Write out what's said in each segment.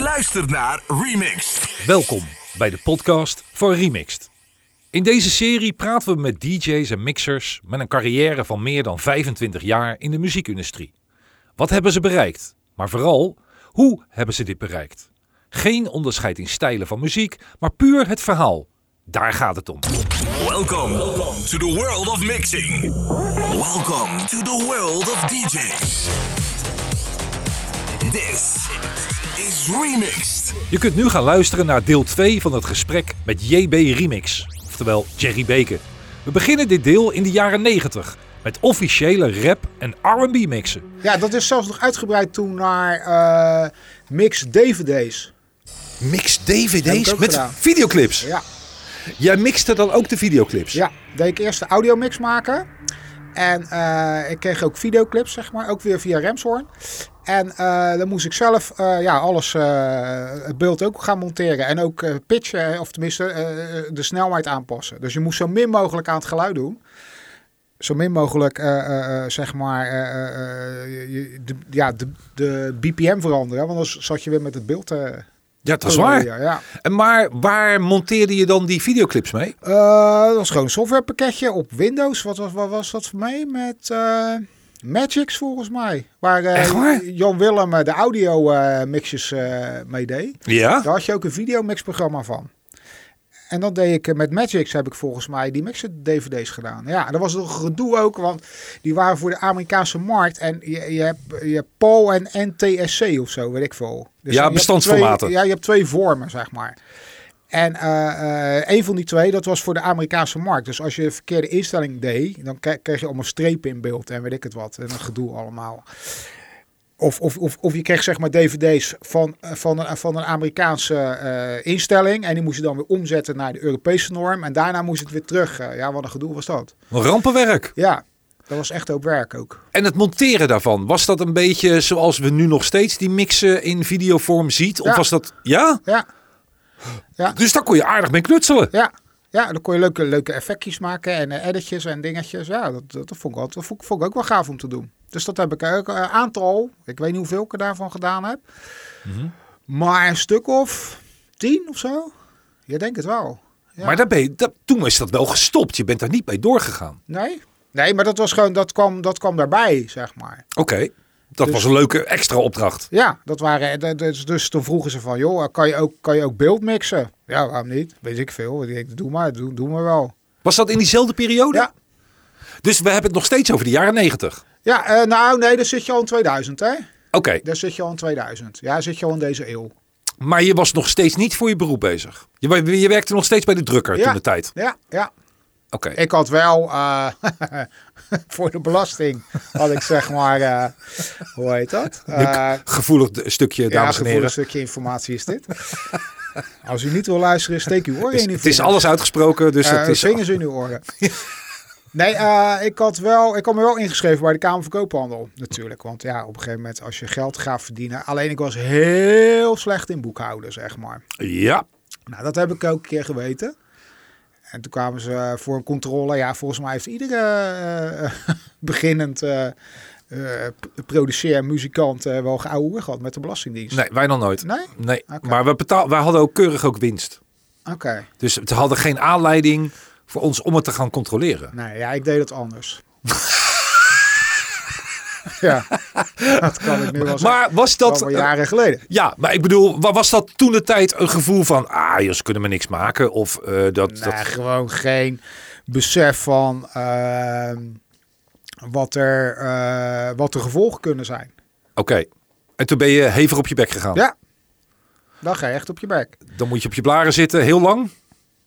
luistert naar Remixed. Welkom bij de podcast van Remixed. In deze serie praten we met DJ's en mixers met een carrière van meer dan 25 jaar in de muziekindustrie. Wat hebben ze bereikt? Maar vooral, hoe hebben ze dit bereikt? Geen onderscheid in stijlen van muziek, maar puur het verhaal. Daar gaat het om. Welkom to the world of mixing. Welcome to the world of DJs. This is Remixed. Je kunt nu gaan luisteren naar deel 2 van het gesprek met JB Remix, oftewel Jerry Baker. We beginnen dit deel in de jaren 90 met officiële rap- en R&B mixen. Ja, dat is zelfs nog uitgebreid toen naar eh, mix DVD's. Mix Heb ik DVD's ook met gedaan. videoclips. Ja, Jij mixte dan ook de videoclips. ja. deed ik eerst de audiomix maken. En eh, ik kreeg ook videoclips, zeg maar, ook weer via Remshoorn. En eh, dan moest ik zelf eh, ja, alles, eh, het beeld ook gaan monteren. En ook eh, pitchen, eh, of tenminste eh, de snelheid aanpassen. Dus je moest zo min mogelijk aan het geluid doen. Zo min mogelijk, eh, eh, eh, zeg maar, eh, eh, eh, je- je- de, ja, de, de BPM veranderen. Want anders zat je weer met het beeld. eh Ja, dat is waar. Ja, ja. En maar waar monteerde je dan die videoclips mee? Eh, dat was gewoon een softwarepakketje op Windows. Wat was, wat was dat voor mij? Met eh Magix volgens mij. Waar, eh, Echt waar? Jan Willem eh, de audio eh, mixjes eh, mee deed. Ja? Daar had je ook een videomixprogramma van. En dan deed ik eh, met Magix heb ik volgens mij die mixen DVD's gedaan. Ja, en dat was nog gedoe ook, want die waren voor de Amerikaanse markt. En je, je hebt je hebt PAL en NTSC of zo, weet ik veel. Ja, Dus je hebt bestandsformaten. twee- ja, je hebt twee vormen, zeg maar. En eh eh, een van die twee, dat was voor de Amerikaanse markt. Dus als je verkeerde instelling deed, dan k- kreeg je allemaal strepen in beeld en weet ik het wat. En een gedoe allemaal. Of, of, of, of je kreeg zeg maar dvd's van, eh, van, een, van een Amerikaanse eh, instelling. En die moest je dan weer omzetten naar de Europese norm. En daarna moest het weer terug. Eh, ja, wat een gedoe was dat. Rampenwerk. Ja, dat was echt ook werk ook. En het monteren daarvan, was dat een beetje zoals we nu nog steeds die mixen in videovorm ziet? Of Ja. was dat... Ja? Ja, Dus daar kon je aardig mee knutselen. ja. Ja, dan kon je leuke, leuke effectjes maken en eh, editjes en dingetjes. Ja, dat, dat, dat vond, ik wel, dat vond, ik- vond ik ook wel gaaf om te doen. Dus dat heb ik ook een aantal. Ik weet niet hoeveel ik er daarvan gedaan heb. Maar een stuk of tien of zo. Je denkt het wel. Ja. Maar daar ben je, dat, toen is dat wel gestopt. Je bent daar niet mee doorgegaan. Nee? Nee, maar dat was gewoon, dat kwam, dat kwam daarbij, zeg maar. Oké, dat Dus- was een leuke extra opdracht. Ja, dat waren, dat- dat- dus toen vroegen ze van, joh, kan je ook, kan je ook beeld mixen? Ja, waarom niet? Weet ik veel. Ik denk, doe maar, doe, doe maar wel. Was dat in diezelfde periode? Ja. Dus we hebben het nog steeds over de jaren negentig. Ja, eh, nou nee, daar zit je al in 2000, hè? Oké, Daar zit je al in 2000. Ja, zit je al in deze eeuw. maar je was nog steeds niet voor je beroep bezig. Je, wa- je werkte nog steeds bij de drukker Ja. toen de tijd. Ja, ja. Oké, Ik had wel, eh, voor de belasting, had ik zeg maar, eh, hoe heet dat? Eh, gevoelig d- stukje, ja, dames en gevoelig heren. stukje informatie is dit. Als u niet wil luisteren, steek uw oren in. Het uw is vingers. alles uitgesproken, dus Eh, het is... vingers in uw oren. Nee, eh, ik, had wel, ik had me wel ingeschreven bij de Kamer van Koophandel natuurlijk. Want ja, op een gegeven moment als je geld gaat verdienen. Alleen ik was heel slecht in boekhouden, zeg maar. Ja, Nou, dat heb ik ook een keer geweten. En toen kwamen ze eh, voor een controle. Ja, volgens mij heeft iedere eh, beginnend eh eh, p- produceer, muzikant eh, wel geouwe gehad met de Belastingdienst. nee, wij dan nooit. Nee? Nee, Oké. maar we, betaal, wij hadden ook keurig ook winst. Oké. Dus we hadden geen aanleiding voor ons om het te gaan controleren. Nee, ja, ik deed het anders. ja, dat kan ik nu wel zeggen. Maar was Dat dat... al jaren geleden. Ja, maar ik bedoel, wa- was dat toen de tijd een gevoel van... Ah, joh, ze kunnen me niks maken. Of eh, dat... Nee, dat... gewoon geen besef van ehm, wat, er, eh, wat de gevolgen kunnen zijn. Oké. En toen ben je hevig op je bek gegaan. Ja, Oh. dan ga je echt op je bek. Dan moet je op je blaren zitten, heel lang.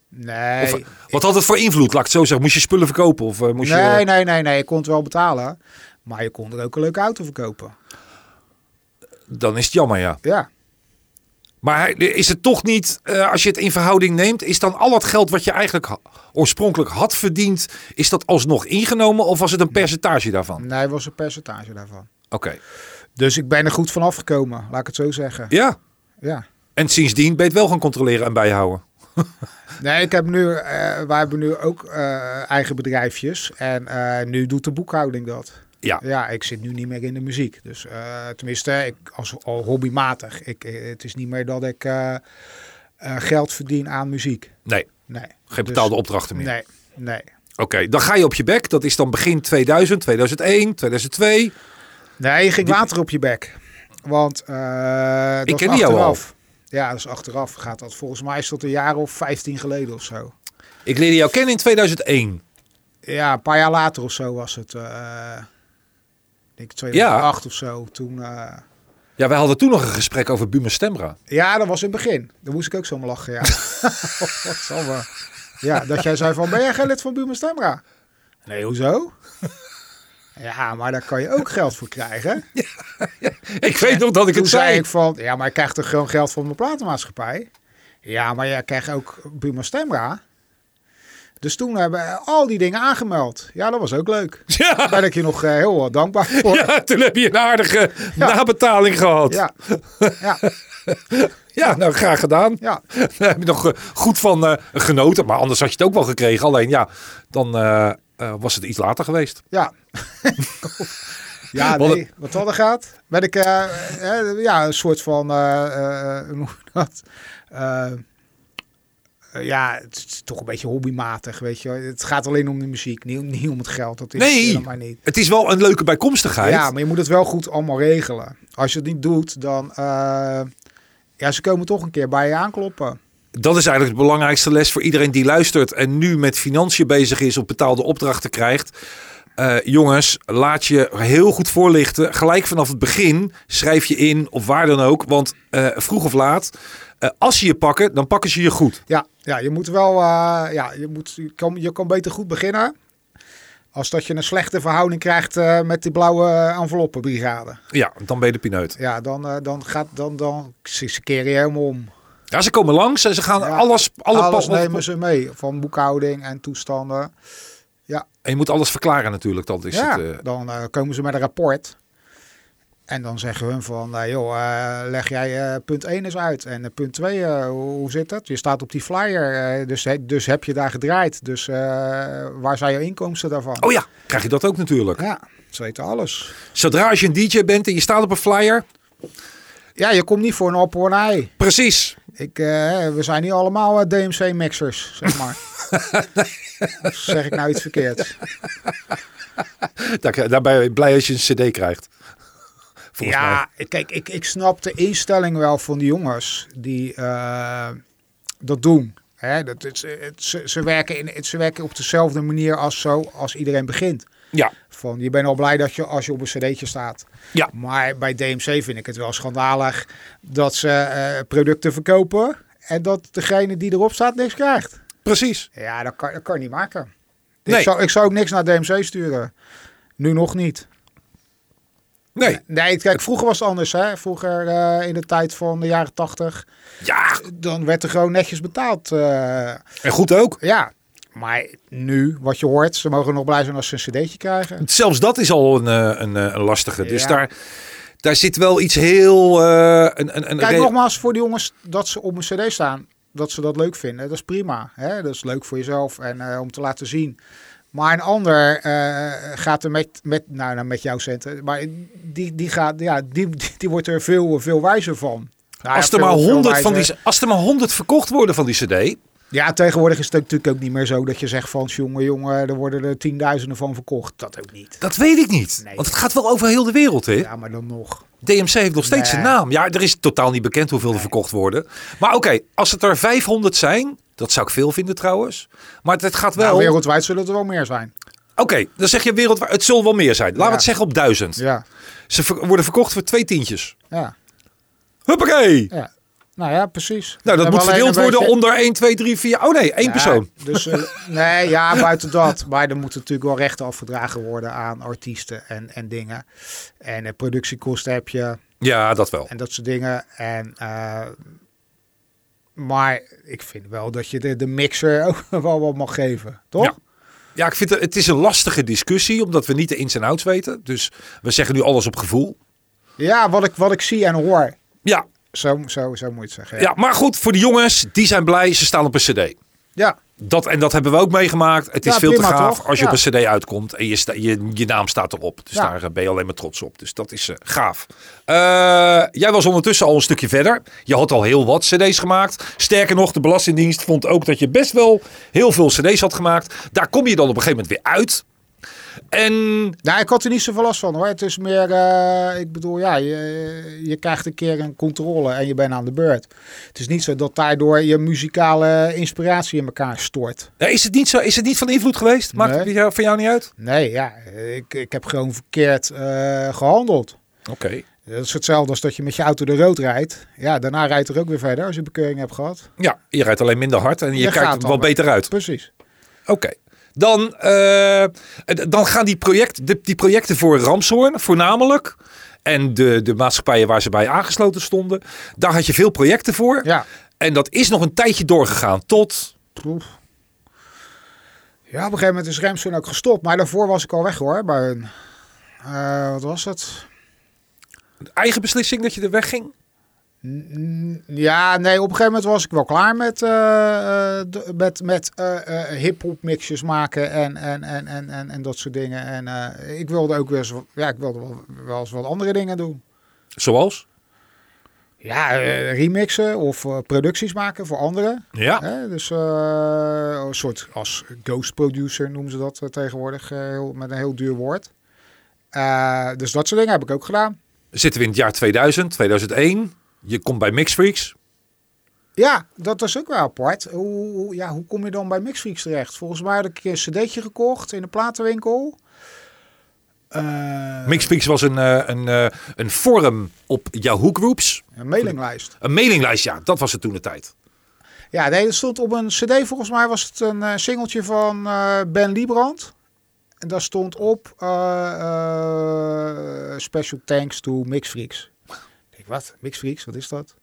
Nee, Of, wat had het voor invloed, laat ik het zo zeggen? Moest je spullen verkopen? Of eh, moest nee, je... nee, nee, nee, je kon het wel betalen. Maar je kon er ook een leuke auto verkopen. Dan is het jammer, ja. Ja, Maar hij- is het toch niet, eh, als je het in verhouding neemt... is dan al het geld wat je eigenlijk ha- oorspronkelijk had verdiend... is dat alsnog ingenomen of was het een percentage daarvan? Oké. nee, was een percentage daarvan. Dus ik ben er goed van afgekomen, laat ik het zo zeggen. Ja. Ja. En sindsdien ben je het wel gaan controleren en bijhouden. Nee, ik heb nu, eh, wij hebben nu ook eh, eigen bedrijfjes. En eh, nu doet de boekhouding dat. Ja. Ja, ik zit nu niet meer in de muziek. Dus eh, tenminste, ik, als al hobbymatig. Ik, eh, het is niet meer dat ik eh, eh, geld verdien aan muziek. Nee, Nee. geen Dus- betaalde opdrachten meer. Nee, nee. Oké, dan ga je op je bek. Dat is dan begin 2000, 2001, 2002. Nee, je ging Die- water op je bek. Want eh dat Ik ken is die jou al. achteraf. Ja, dat is achteraf. Gaat dat volgens mij is dat een jaar of 15 geleden of zo. Ik leerde jou kennen in 2001. Ja, een paar jaar later of zo was het. eh, ik denk 2008 of zo. Toen, eh, Ja, wij hadden toen nog een gesprek over Buma Stemra. ja, dat was in het begin. Daar moest ik ook zo om lachen, ja. Wat zal wel. Ja, dat jij zei van, ben jij geen lid van Buma Stemra? Nee, hoezo? ja, maar daar kan je ook geld voor krijgen. Ik weet nog dat ik Toen het zei zei. ik van, ja, maar ik krijg toch gewoon geld van mijn platenmaatschappij? Ja, maar jij krijgt ook Buma Stemra. Dus toen hebben we al die dingen aangemeld. Ja, dat was ook leuk. Daar Ja, ben ik je nog eh, heel eh, dankbaar voor. ja, toen heb je een aardige nabetaling gehad. Ja, Ja, ja, nou graag gedaan. ja. Daar heb je nog eh, goed van eh, genoten. Maar anders had je het ook wel gekregen. Alleen ja, dan eh, eh, was het iets later geweest. ja. Ja, Wat nee, wat dat er gaat, ben ik eh, eh, ja, een soort van, eh, eh, hoe noem je dat? Eh, eh, ja, het is toch een beetje hobbymatig, weet je. wel. Het gaat alleen om de muziek, niet, om- niet om het geld. Dat is Nee. helemaal niet. Het is wel een leuke bijkomstigheid. Ja, maar je moet het wel goed allemaal regelen. Als je het niet doet, dan... eh, ja, ze komen toch een keer bij je aankloppen. Dat is eigenlijk de belangrijkste les voor iedereen die luistert en nu met financiën bezig is of betaalde opdrachten krijgt. Eh, jongens, laat je heel goed voorlichten. Gelijk vanaf het begin schrijf je in of waar dan ook. Want eh, vroeg of laat, eh, als ze je pakken, dan pakken ze je goed. Ja, ja je moet wel... eh, ja, je, moet, je, kan, je kan beter goed beginnen... als dat je een slechte verhouding krijgt eh, met die blauwe enveloppenbrigade. Ja, dan ben je de pineut. Ja, dan, eh, dan gaat... Dan, dan ze, ze keren je helemaal om. Ja, ze komen langs en ze gaan Ja, alles, alle Alles pas- nemen ze mee. Van boekhouding en toestanden. En je moet alles verklaren natuurlijk. Dat is ja, het, eh, dan eh, komen ze met een rapport. En dan zeggen hun van, eh, joh, eh, leg jij eh, punt 1 eens uit. En eh, punt 2, eh, hoe, hoe zit dat? Je staat op die flyer, eh, dus, he- dus heb je daar gedraaid. Dus eh, waar zijn je inkomsten daarvan? Oh ja, krijg je dat ook natuurlijk. Ja, ze weten alles. Zodra als je een DJ bent en je staat op een flyer. Ja, je komt niet voor een op of een ei. Precies. Ik, eh, we zijn niet allemaal DMC-mixers, zeg maar. Of zeg ik nou iets verkeerds? Daar, daar ben je blij als je een cd krijgt. Volgens mij. ja, kijk, ik, ik snap de instelling wel van die jongens die eh, dat doen. Hè, dat, het, het- ze, ze, werken in, het- ze werken op dezelfde manier als, zo, als iedereen begint. Ja, Van, je bent al blij dat je, als je op een cd'tje staat. ja. Maar bij DMC vind ik het wel schandalig dat ze eh, producten verkopen... en dat degene die erop staat niks krijgt. precies. Ja, dat kan, dat kan je niet maken. Nee. Ik, zou, ik zou ook niks naar DMC sturen. Nu nog niet. Nee. Nee, kijk, vroeger was het anders. Hè? Vroeger eh, in de tijd van de jaren tachtig, Ja, dan werd er gewoon netjes betaald. eh, en goed ook. ja, maar nu, wat je hoort, ze mogen nog blij zijn als ze een cd'tje krijgen. Zelfs dat is al een, eh, een, eh, een lastige. Dus Ja. daar, daar zit wel iets heel... eh, een, een, een Kijk, re- nogmaals, voor die jongens dat ze op een cd staan, dat ze dat leuk vinden, dat is prima. Hè? Dat is leuk voor jezelf en eh, om te laten zien. Maar een ander eh, gaat er met, met, nou, nou, met jouw centen, maar die, die, gaat, ja, die, die, die wordt er veel, veel wijzer van. Nou ja, Als er, veel- maar veel 100 van wijzer. die, als er maar 100 verkocht worden van die cd... Ja, tegenwoordig is het natuurlijk ook niet meer zo dat je zegt van jongen, jongen, er worden er tienduizenden van verkocht. Dat ook niet. Dat weet ik niet. Nee. Want het gaat wel over heel de wereld, hè? Ja, maar dan nog. DMC heeft nog steeds Nee. een naam. Ja, er is totaal niet bekend hoeveel er verkocht worden. Maar oké, als het er 500 zijn... Dat zou ik veel vinden trouwens. Maar het gaat wel... Nou, wereldwijd zullen het er wel meer zijn. Oké, dan zeg je wereldwijd... Het zal wel meer zijn. Laten we Ja. het zeggen op 1000. Ja, Ze ver- worden verkocht voor twee tientjes. ja, Huppakee! ja. Nou ja, precies. Nou, dat We moet hebben alleen verdeeld een worden beetje- onder 1, 2, 3, 4. Oh nee, één Ja, persoon. Dus, eh, nee, ja, buiten dat. Maar er moeten natuurlijk wel rechten afgedragen worden aan artiesten en, en dingen. En eh, productiekosten heb je. Ja, dat wel. en dat soort dingen. En, eh, maar ik vind wel dat je de, de mixer ook wel wat mag geven, toch? Ja. Ja, ik vind het, het is een lastige discussie, omdat we niet de ins en outs weten. Dus we zeggen nu alles op gevoel. Ja, wat ik, wat ik zie en hoor. Ja, Zo, zo, zo moet je het zeggen. ja, maar goed, voor de jongens, die zijn blij, ze staan op een cd. ja. Dat, en dat hebben we ook meegemaakt. Het is Ja, veel te prima, gaaf toch? als je Ja. op een cd uitkomt en je, sta- je, je naam staat erop. Dus Ja. daar eh, ben je alleen maar trots op. Dus dat is eh, gaaf. Eh, jij was ondertussen al een stukje verder. Je had al heel wat cd's gemaakt. Sterker nog, de Belastingdienst vond ook dat je best wel heel veel cd's had gemaakt. Daar kom je dan op een gegeven moment weer uit. En Nou, ik had er niet zoveel last van hoor. Het is meer, eh, ik bedoel, ja, je, je krijgt een keer een controle en je bent aan de beurt. Het is niet zo dat daardoor je muzikale inspiratie in elkaar stort. eh, is, het niet zo, is het niet van invloed geweest? Maakt Nee. het jou- voor jou niet uit? Nee, ja, ik, ik heb gewoon verkeerd eh, gehandeld. Oké. Dat is hetzelfde als dat je met je auto de rood rijdt. Ja, daarna rijdt er ook weer verder als je bekeuring hebt gehad. Ja, je rijdt alleen minder hard en je, Je kijkt gaat er dan wel weer. beter uit. Precies. Oké. Dan, eh, dan gaan die, project, de- die projecten voor Ramshoorn voornamelijk. En de, de maatschappijen waar ze bij aangesloten stonden. Daar had je veel projecten voor. Ja. En dat is nog een tijdje doorgegaan tot... Proef. Ja, op een gegeven moment is Remsen ook gestopt. Maar daarvoor was ik al weg hoor. Bij hun. Eh, wat was het? Eigen beslissing dat je er wegging? N- Ja, nee, op een gegeven moment was ik wel klaar met, eh, eh, d- met, met eh, eh, hip-hop mixjes maken en, en, en, en, en, en dat soort dingen. En eh, ik wilde ook weer eens, ja, ik wilde wel, wel eens wat andere dingen doen. Zoals? Ja, eh, remixen of eh, producties maken voor anderen. Ja. Hè? Dus eh, een soort als ghost producer noemen ze dat eh, tegenwoordig, eh, heel, met een heel duur woord. Eh, dus dat soort dingen heb ik ook gedaan. Zitten we in het jaar 2000, 2001. Je komt bij Mix Freaks. Ja, dat is ook wel apart. Hoe, hoe- ja, hoe kom je dan bij Mixfreaks terecht? Volgens mij had ik een keer een cd'tje gekocht in de platenwinkel. Eh, Mix Freaks was een, eh, een, eh, een forum op Yahoo Groups. een mailinglijst. Een mailinglijst, ja. Dat was het toen de tijd. Ja, nee, dat stond op een cd. Volgens mij was het een eh, singeltje van eh, Ben Liebrand. En daar stond op eh, eh, Special Thanks to Mixfreaks. Ik denk, wat? Mixfreaks, wat is dat?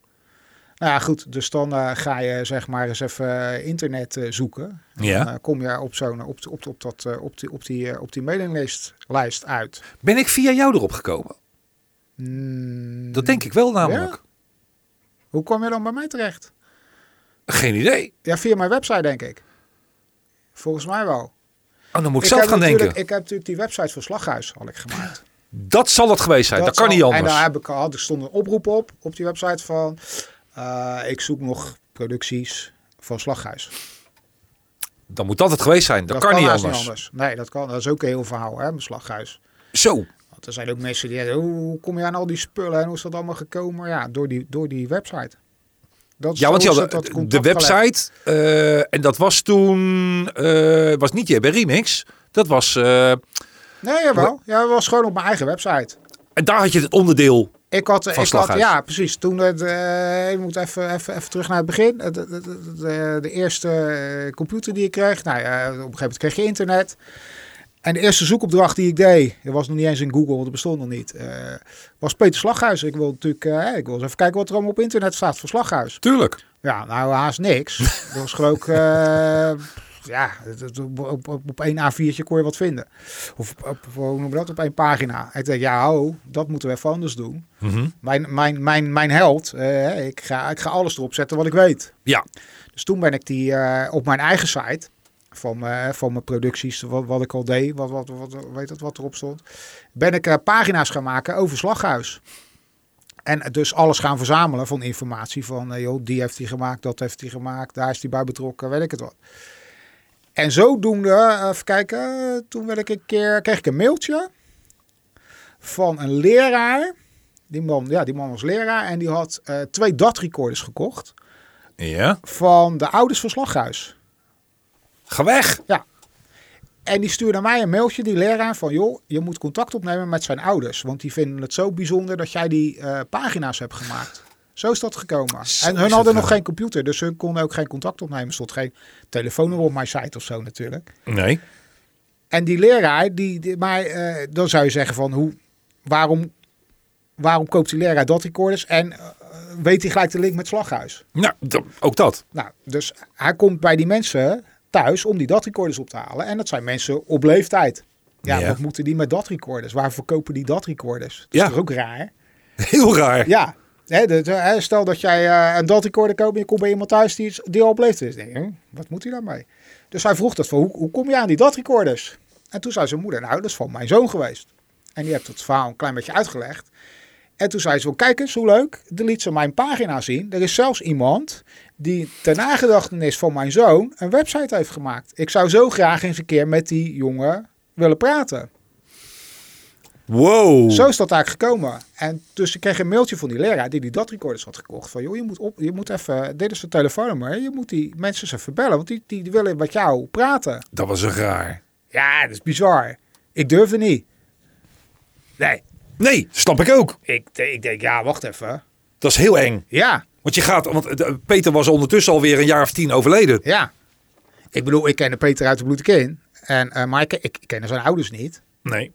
Nou ja, goed. Dus dan eh, ga je zeg maar eens even eh, internet eh, zoeken. Dan, eh, kom je op, zo'n, op, op, op, dat, eh, op die, op die, eh, op die mailinglijst lijst uit. Ben ik via jou erop gekomen? Hmm, Dat denk ik wel namelijk. Hoe kwam je dan bij mij terecht? Geen idee. Ja, via mijn website denk ik. Volgens mij wel. Oh, dan moet ik, zelf heb gaan denken. natuurlijk- Ik heb natuurlijk die website van Slaghuis had ik gemaakt. Dat zal het geweest zijn. Dat, zal- kan niet anders. En nou daar heb ik, had, er stond een oproep op, op die website van... eh, ik zoek nog producties van Slaghuis. Dan moet dat het geweest zijn. Dat, kan, niet haast anders. Nee, dat kan. Dat is ook een heel verhaal, hè, met Slaghuis. Zo. Want er zijn ook mensen die zeggen, hoe kom je aan al die spullen en hoe is dat allemaal gekomen? Ja, door die, door die website. Dat is- Ja, want je zo is had dat- dat de- de contact gelegd. website. eh, en dat was toen. eh was niet JB Remix. Dat was. eh, Nee, jawel. Ja, dat was gewoon op mijn eigen website. en daar had je het onderdeel. Ik had, ik had, Slaghuis. ja, precies. Toen het, eh, je moet even, even, even terug naar het begin. De, de, de- de- de eerste eh, computer die ik kreeg, nou ja, op een gegeven moment kreeg je internet. En de eerste zoekopdracht die ik deed, dat was nog niet eens in Google, want dat bestond nog niet, eh, was Peter Slaghuis. Ik wil natuurlijk, eh, ik wil eens even kijken wat er allemaal op internet staat voor Slaghuis. Tuurlijk. Ja, nou haast niks. Dat was gewoon ook, eh, ja, het- het- op, op, op, op één A4'tje kon je wat vinden. Of op, op, hoe noem je dat, op één pagina. Ik denk, ja, ho, dat moeten we even anders doen. Mhm. Mijn, mijn, mijn, mijn held, eh, ik, ga, ik ga alles erop zetten wat ik weet. Ja. Dus toen ben ik die eh, op mijn eigen site van, eh, van mijn producties, wat, wat ik al deed, wat, wat, wat, weet dat, wat erop stond, ben ik eh, pagina's gaan maken over Slaghuis. En eh, dus alles gaan verzamelen van informatie van, eh, joh, die heeft hij gemaakt, dat heeft hij gemaakt, daar is hij bij betrokken, weet ik het wat. En zodoende, eh, even kijken, eh, toen werd ik een keer, kreeg ik een mailtje van een leraar. Die man, ja, die man was leraar en die had eh, twee DAT-recorders gekocht Ja. van de ouders van Slaghuis. Ga weg. En die stuurde mij een mailtje, die leraar, van joh, je moet contact opnemen met zijn ouders. Want die vinden het zo bijzonder dat jij die eh, pagina's hebt gemaakt. Zo is dat gekomen. Zo en is het hun hadden nog gegaan. geen computer, dus hun konden ook geen contact opnemen. Er stond geen telefoonnummer op mijn site of zo natuurlijk. Nee. En die leraar, die, die- maar eh, dan zou je zeggen van hoe, waarom, waarom koopt die leraar dat recorders? En eh, weet hij gelijk de link met Slaghuis? Nou, d- ook dat. Nou, dus hij komt bij die mensen thuis om die datrecorders op te halen. En dat zijn mensen op leeftijd. Ja, Ja. wat moeten die met datrecorders? Waar verkopen die datrecorders? Dat Ja. is toch ook raar? Heel raar. Ja, Hè, de- de- hè, stel dat jij eh, een DAT recorder koopt en je komt bij iemand thuis die, iets- die al beleefd is. Denk je, hm, wat moet hij daarmee? Dus hij vroeg dat van, hoe, hoe kom je aan die DAT recorders? En toen zei zijn moeder, nou, dat is van mijn zoon geweest. En die heeft het verhaal een klein beetje uitgelegd. En toen zei ze, wel, kijk eens hoe leuk, dan liet ze mijn pagina zien. Er is zelfs iemand die ter nagedachtenis van mijn zoon een website heeft gemaakt. Ik zou zo graag eens een keer met die jongen willen praten. Wow. Zo is dat eigenlijk gekomen. En dus ik kreeg een mailtje van die leraar die die datrecorders had gekocht. Van joh, je moet, op, je moet even, dit is de telefoonnummer. Je moet die mensen eens even bellen, want die, die, die willen met jou praten. Dat was raar. Ja, dat is bizar. Ik durfde niet. Nee, Nee, snap ik ook. ik, ik denk ja, wacht even. Dat is heel eng. Ja, Want je gaat, want eh, Peter was ondertussen alweer een jaar of tien overleden. ja. Ik bedoel, ik ken Peter uit de bloedkin. En, eh maar ik, ik, ik kende zijn ouders niet. Nee.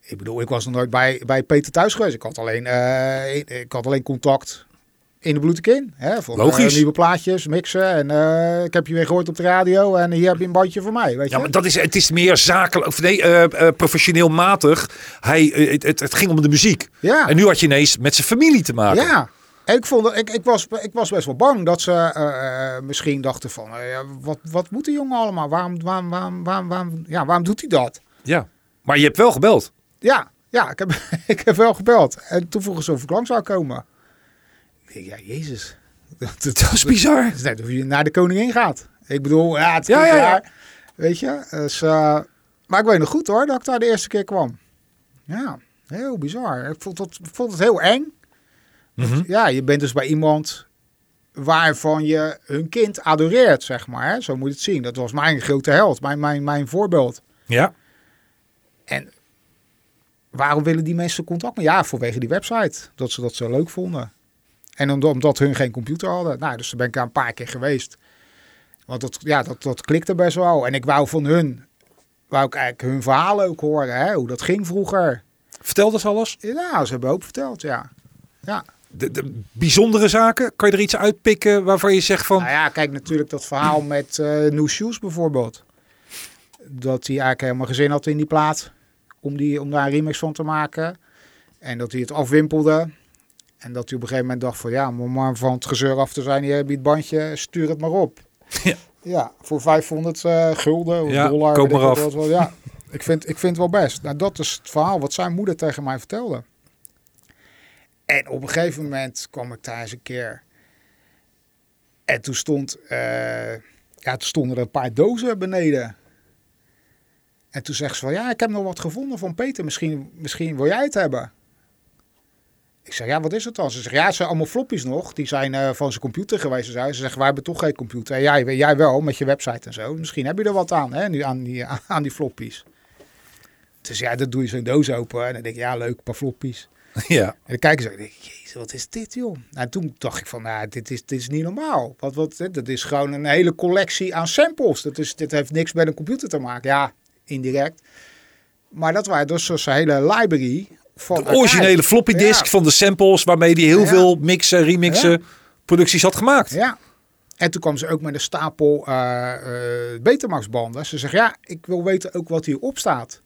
Ik bedoel, ik was nog nooit bij, bij Peter thuis geweest. Ik had alleen, eh, ik, ik had alleen contact in de bloedkin. Hè, voor, eh, Logisch. nieuwe plaatjes, mixen. En eh, ik heb je weer gehoord op de radio. En hier heb je een bandje voor mij. Weet Ja, je? maar dat is, het is meer zakelijk, of nee, eh, eh, professioneel matig. Hij, eh, het- het, het ging om de muziek. Ja. En nu had je ineens met zijn familie te maken. Ja. En ik, vond, dat- ik, ik, was, ik was best wel bang dat ze eh, eh, misschien dachten van... eh, ja, wat, wat moet die jongen allemaal? Waarom, waarom, waarom, waarom, waarom, ja, waarom doet hij dat? Ja. Maar je hebt wel gebeld. Ja, ja ik, heb, ik heb wel gebeld. En toen vroegen ze of ik lang zou komen. Ik denk, ja, jezus. Dat, dat- Dat is bizar. het is net of je naar de koningin gaat. Ik bedoel, ja, het is Ja, ja, ja, ja. Weet je? Dus, eh, maar ik weet nog goed hoor, dat ik daar de eerste keer kwam. Ja, heel bizar. Ik vond het, ik vond het heel eng. Mhm. Ja, je bent dus bij iemand waarvan je hun kind adoreert, zeg maar. Hè? Zo moet je het zien. Dat was mijn grote held, mijn, mijn, mijn voorbeeld. Ja. En waarom willen die mensen contact met? Ja, vanwege die website. Dat ze dat zo leuk vonden. En omdat, omdat hun geen computer hadden. Nou, dus daar ben ik daar een paar keer geweest. Want dat, ja, dat, dat klikte best wel. En ik wou van hun, wou ik eigenlijk hun verhalen ook horen. Hè? Hoe dat ging vroeger. Vertel dat alles. Ja, nou, ze hebben ook verteld, ja. Ja, De, de bijzondere zaken. Kan je er iets uitpikken waarvan je zegt van... nou ja, kijk natuurlijk dat verhaal met eh New Shoes bijvoorbeeld. Dat hij eigenlijk helemaal gezin had in die plaat. Om, die, om daar een remix van te maken. En dat hij het afwimpelde. En dat hij op een gegeven moment dacht van ja, om maar van het gezeur af te zijn. Hier heb je het bandje, stuur het maar op. Ja. Ja, voor 500 eh, gulden of Ja, dollar. koop weet ik maar wat af. wel. ja, ik vind, ik vind het wel best. Nou, dat is het verhaal wat zijn moeder tegen mij vertelde. En op een gegeven moment kwam ik daar eens een keer. En toen, stond, eh, ja, toen stonden er een paar dozen beneden. En toen zegt ze van, ja, ik heb nog wat gevonden van Peter. Misschien, misschien wil jij het hebben. Ik zeg, ja, wat is het dan? Ze zegt, ja, het zijn allemaal floppies nog. Die zijn eh, van zijn computer geweest. en zo. Ze zegt, wij hebben toch geen computer. En jij, jij wel, met je website en zo. Misschien heb je er wat aan, hè, nu aan die, aan die floppies. Dus ja, dan doe je zo'n doos open. En dan denk je, ja, leuk, een paar floppies. Ja. En dan kijken ze en denk ik, jezus, wat is dit joh? Nou, toen dacht ik van, nou, dit is, dit is niet normaal. Wat, wat, hè, dat is gewoon een hele collectie aan samples. Dat is, dit heeft niks met een computer te maken. Ja, indirect. Maar dat waren dus zo'n hele library. Van De originele archive. floppy disk Ja, van de samples... waarmee hij heel Ja. veel mixen, remixen, Ja. producties had gemaakt. ja. En toen kwam ze ook met een stapel eh, eh, Betamax-banden. Ze zegt, ja, ik wil weten ook wat hierop staat.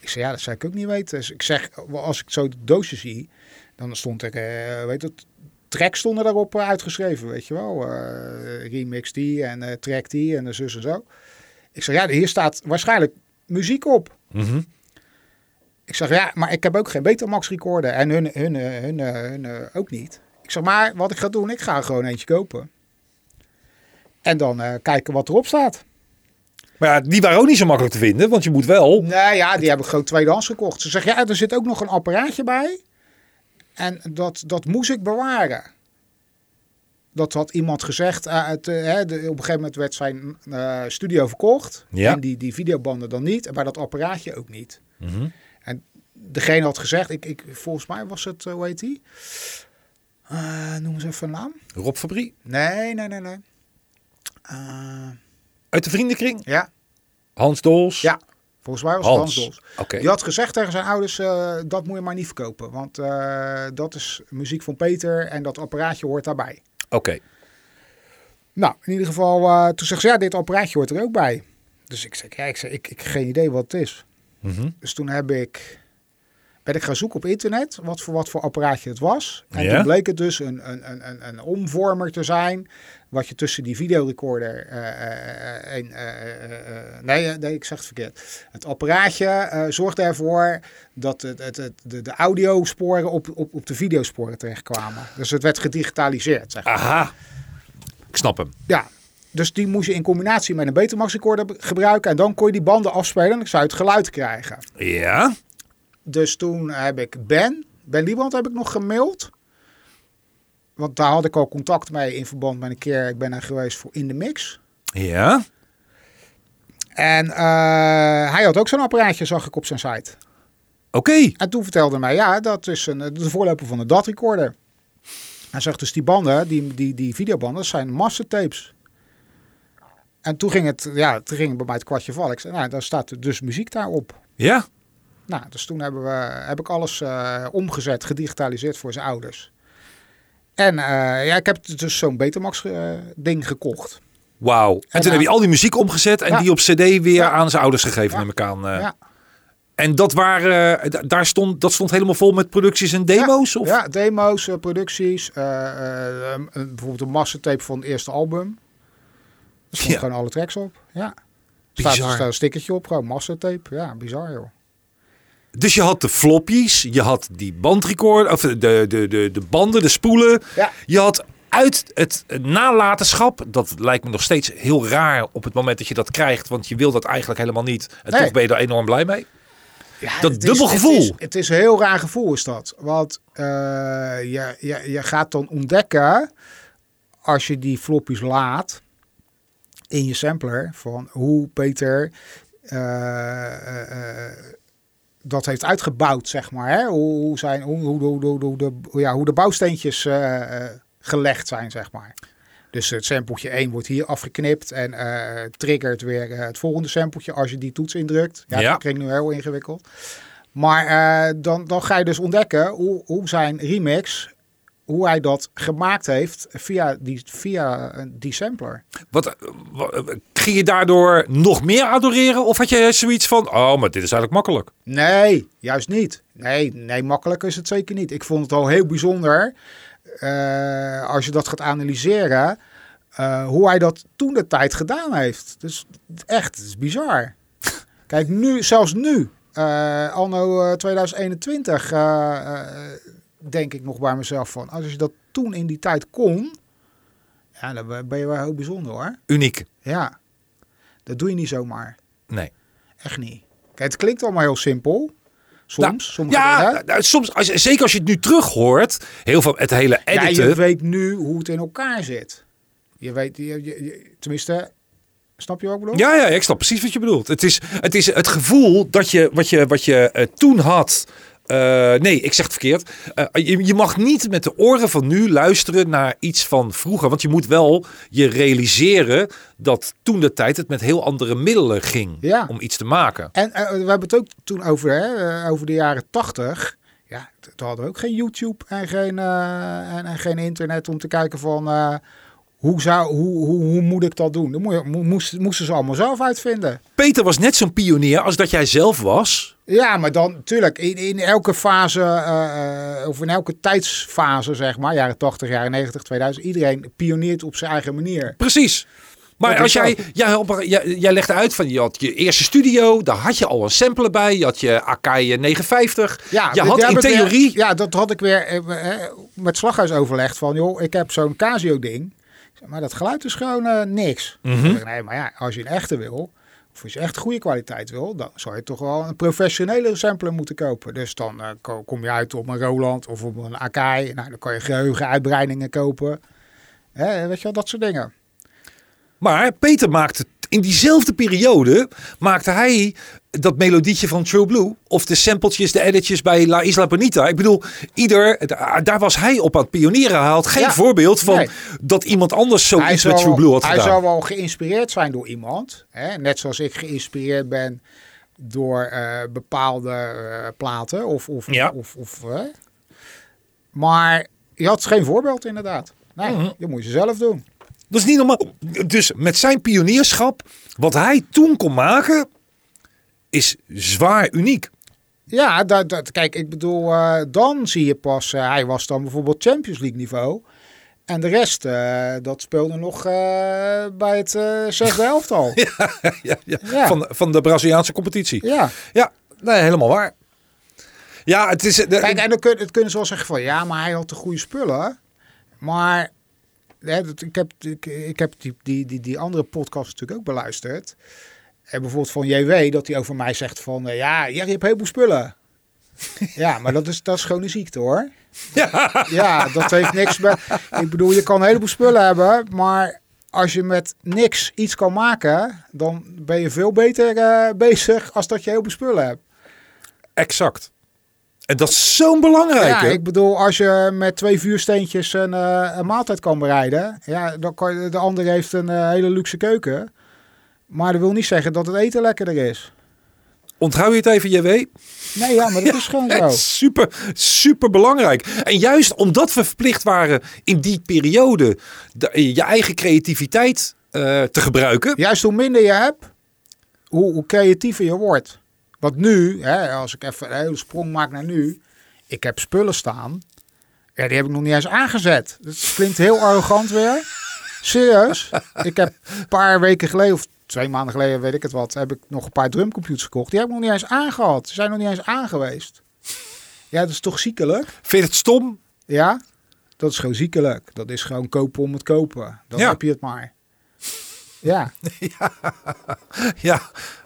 Ik zeg, ja, dat zou ik ook niet weten. Dus ik zeg, als ik zo de doosje zie, dan stond er, eh, weet het, track stonden daarop eh, uitgeschreven, weet je wel. Eh, remix die en eh, track die en de zus en zo. Ik zeg, ja, hier staat waarschijnlijk muziek op. Mhm. Ik zeg, ja, maar ik heb ook geen Betamax recorder. En hun, hun, eh, hun, eh, hun, eh, ook niet. Ik zeg, maar wat ik ga doen, ik ga er gewoon eentje kopen. En dan eh, kijken wat erop staat. Maar ja, die waren ook niet zo makkelijk te vinden. Want je moet wel... Nou ja, die hebben gewoon tweedehands gekocht. Ze zeggen, ja, er zit ook nog een apparaatje bij. En dat, dat moest ik bewaren. Dat had iemand gezegd. eh, het, eh, hè, de- op een gegeven moment werd zijn eh, studio verkocht. Ja. En die, die videobanden dan niet. Maar dat apparaatje ook niet. Mhm. Degene had gezegd, ik, ik, volgens mij was het, eh, hoe heet die? Eh, noem eens even een naam. Rob Fabrie. Nee, nee, nee, nee. Eh, Uit de vriendenkring. ja, Hans Dols. ja. Volgens mij was het Hans Hans. Dols. Oké. Die had gezegd tegen zijn ouders, eh, dat moet je maar niet verkopen. Want eh, dat is muziek van Peter en dat apparaatje hoort daarbij. Oké. Nou, in ieder geval, eh, toen zegt ze, ja, dit apparaatje hoort er ook bij. Dus ik zeg, ja, ik, zeg, ik, ik heb geen idee wat het is. Mhm. Dus toen heb ik, ben ik gaan zoeken op internet wat voor, wat voor apparaatje het was. En Ja? toen bleek het dus een, een, een, een, een omvormer te zijn. Wat je tussen die videorecorder eh, eh, en... eh, eh, eh, nee, eh, nee, ik zeg het verkeerd. Het apparaatje eh, zorgde ervoor dat het, het, het- de, de audiosporen op, op, op de videosporen terechtkwamen. Dus het werd gedigitaliseerd, zeg maar. Aha. Ik snap hem. Ja, dus die moest je in combinatie met een Betamax recorder be- gebruiken. En dan kon je die banden afspelen en dan zou je het geluid krijgen. Ja? Dus toen heb ik Ben, Ben Liebrand heb ik nog gemaild. Want daar had ik al contact mee in verband met een keer. Ik ben er geweest voor In de Mix. Ja? En eh, hij had ook zo'n apparaatje, zag ik op zijn site. Oké. En toen vertelde hij mij, ja, dat is een, de voorloper van de DAT recorder. Hij zegt dus die banden, die, die, die videobanden, dat zijn mastertapes. En toen ging het, ja, toen ging het bij mij het kwartje vallen. Ik zei, nou, daar staat dus muziek daarop. Ja? Nou, dus toen hebben we, heb ik alles eh, omgezet, gedigitaliseerd voor zijn ouders. En eh, ja, ik heb dus zo'n Betamax-ding gekocht. Wauw. En, toen nou- heb je al die muziek omgezet en Ja. die op cd weer Ja. aan zijn ouders gegeven, Ja. neem ik aan. eh. Ja. En dat, waren, eh, da- daar stond, dat stond helemaal vol met producties en demo's? Ja, Of? ja, demo's, eh, producties. eh, eh, een- bijvoorbeeld een mastertape van het eerste album. Er stonden Ja. gewoon alle tracks op. Ja. Staat, Bizar. staat een stickertje op, gewoon mastertape. Ja, bizar joh. Dus je had de floppies, je had die bandrecord, of de, de, de, de banden, de spoelen. Ja. Je had uit het nalatenschap, dat lijkt me nog steeds heel raar op het moment dat je dat krijgt, want je wil dat eigenlijk helemaal niet. En Nee. toch ben je daar enorm blij mee. Ja, Dat het dubbel is, gevoel. Het is, het is een heel raar gevoel is dat. Want eh, je, je, je gaat dan ontdekken, als je die floppies laat in je sampler, van hoe Peter eh, eh, eh, dat heeft uitgebouwd, zeg maar. Hè? Hoe, hoe zijn, hoe, hoe, hoe, hoe- hoe de, hoe- ja, hoe de bouwsteentjes eh, eh, gelegd zijn, zeg maar. Dus het sampletje 1 wordt hier afgeknipt en eh, triggert weer eh, het volgende sampletje als je die toets indrukt. Ja, Ja. dat klinkt nu heel ingewikkeld. Maar eh, dan, dan ga je dus ontdekken hoe, hoe zijn remix, hoe hij dat gemaakt heeft via die, via eh, die sampler. Wat, eh, wa- eh, ging je daardoor nog meer adoreren? Of had je zoiets van, oh, maar dit is eigenlijk makkelijk. Nee, juist niet. Nee, nee, makkelijk is het zeker niet. Ik vond het al heel bijzonder eh, als je dat gaat analyseren, eh, hoe hij dat toen de tijd gedaan heeft. Dus echt, het is bizar. Kijk, nu, zelfs nu, eh, anno eh, 2021, eh, eh, denk ik nog bij mezelf van, als je dat toen in die tijd kon, ja, dan ben je wel heel bijzonder hoor. Uniek. Ja, dat doe je niet zomaar. Nee. Echt niet. Kijk, het klinkt allemaal heel simpel. Soms, Nou, sommige Ja, dingen. nou, soms, als, zeker als je het nu terug hoort, heel veel, het hele Ja, editen. je weet nu hoe het in elkaar zit. Je weet, je, je- je- tenminste, snap je wat ik bedoel? Ja, ja, ik snap precies wat je bedoelt. Het is het, is het gevoel dat je, wat je, wat je eh, toen had. eh, nee, ik zeg het verkeerd. Eh, je, je mag niet met de oren van nu luisteren naar iets van vroeger. Want je moet wel je realiseren dat toen de tijd het met heel andere middelen ging Ja. om iets te maken. En eh, we hebben het ook toen over, hè, eh, over de jaren tachtig. Ja, t- toen hadden we ook geen YouTube en geen, eh, en, en geen internet om te kijken van... eh, hoe, zou, hoe, hoe, hoe moet ik dat doen? Dan moe- mo- moesten, moesten ze allemaal zelf uitvinden. Peter was net zo'n pionier als dat jij zelf was. Ja, maar dan natuurlijk in, in elke fase, eh, eh, of in elke tijdsfase, zeg maar, jaren 80, jaren 90, 2000, iedereen pioniert op zijn eigen manier. Precies. Maar Dat als is jij, jij, op- jij, jij legde uit van je had je eerste studio, daar had je al een sampler bij, je had je Akai 950. Ja, je d- had daar in heb ik weer- theorie ja, dat had ik weer eh, eh, met Slaghuis overlegd van, joh, ik heb zo'n Casio-ding, Ik zeg, maar dat geluid is gewoon eh, niks. Mhm. Ik zeg, Nee, maar ja, als je een echte wil, of als je echt goede kwaliteit wil, dan zou je toch wel een professionele sampler moeten kopen. Dus dan eh, ko- kom je uit op een Roland of op een Akai, nou, dan kan je geheugenuitbreidingen kopen. Hè, weet je wel, dat soort dingen. Maar Peter maakte in diezelfde periode maakte hij dat melodietje van True Blue of de sampletjes, de editjes bij La Isla Bonita. Ik bedoel, ieder da- daar was hij op aan het pionieren. Hij had geen Ja, voorbeeld van nee. dat iemand anders hij zoiets zal, met True Blue had hij gedaan. zal wel geïnspireerd zijn door iemand. Hè? Net zoals ik geïnspireerd ben door eh, bepaalde eh, platen. Of, of, Ja. of, of, hè. Maar je had geen voorbeeld inderdaad. Nee, je moet je zelf doen. Dat is niet normaal. Dus met zijn pionierschap, wat hij toen kon maken, is zwaar uniek. Ja, dat, dat, kijk, ik bedoel, eh, dan zie je pas, eh, hij was dan bijvoorbeeld Champions League niveau. En de rest, eh, dat speelde nog eh, bij het eh, zesde elftal. ja. Ja, ja. Ja. Van, van de Braziliaanse competitie. Ja, nee, helemaal waar. Ja, het is... de- Kijk, en dan kun, het kunnen ze wel zeggen van, ja, maar hij had de goede spullen. Maar, hè, dat, ik heb, ik, ik heb die, die, die, die andere podcast natuurlijk ook beluisterd. En bijvoorbeeld van JW, dat hij over mij zegt van, eh, ja, jij hebt heel veel spullen. ja, maar dat is, dat is gewoon een ziekte hoor. ja, Ja, dat heeft niks met. Ik bedoel, je kan een heleboel spullen hebben, maar als je met niks iets kan maken, dan ben je veel beter eh, bezig als dat je heel veel spullen hebt. exact. En dat is zo'n belangrijke. Ja, ik bedoel, als je met twee vuursteentjes een, eh, een maaltijd kan bereiden, ja, dan kan je, de ander heeft een eh, hele luxe keuken. Maar dat wil niet zeggen dat het eten lekkerder is. Onthoud je het even, JW? Nee, ja, maar dat is gewoon zo. Super, super belangrijk. En juist omdat we verplicht waren in die periode de- je eigen creativiteit eh, te gebruiken. Juist hoe minder je hebt, hoe, hoe creatiever je wordt. Want nu, hè, als ik even een hele sprong maak naar nu. Ik heb spullen staan. Ja, die heb ik nog niet eens aangezet. Dat klinkt heel arrogant weer. Serieus. Ik heb een paar weken geleden, of twee maanden geleden, weet ik het wat, heb ik nog een paar drumcomputers gekocht. Die heb ik nog niet eens aangehad. Ze zijn nog niet eens aangeweest. Ja, dat is toch ziekelijk? Vind je het stom? Ja, dat is gewoon ziekelijk. Dat is gewoon kopen om het kopen. Dan Ja. heb je het maar. Ja. Ja,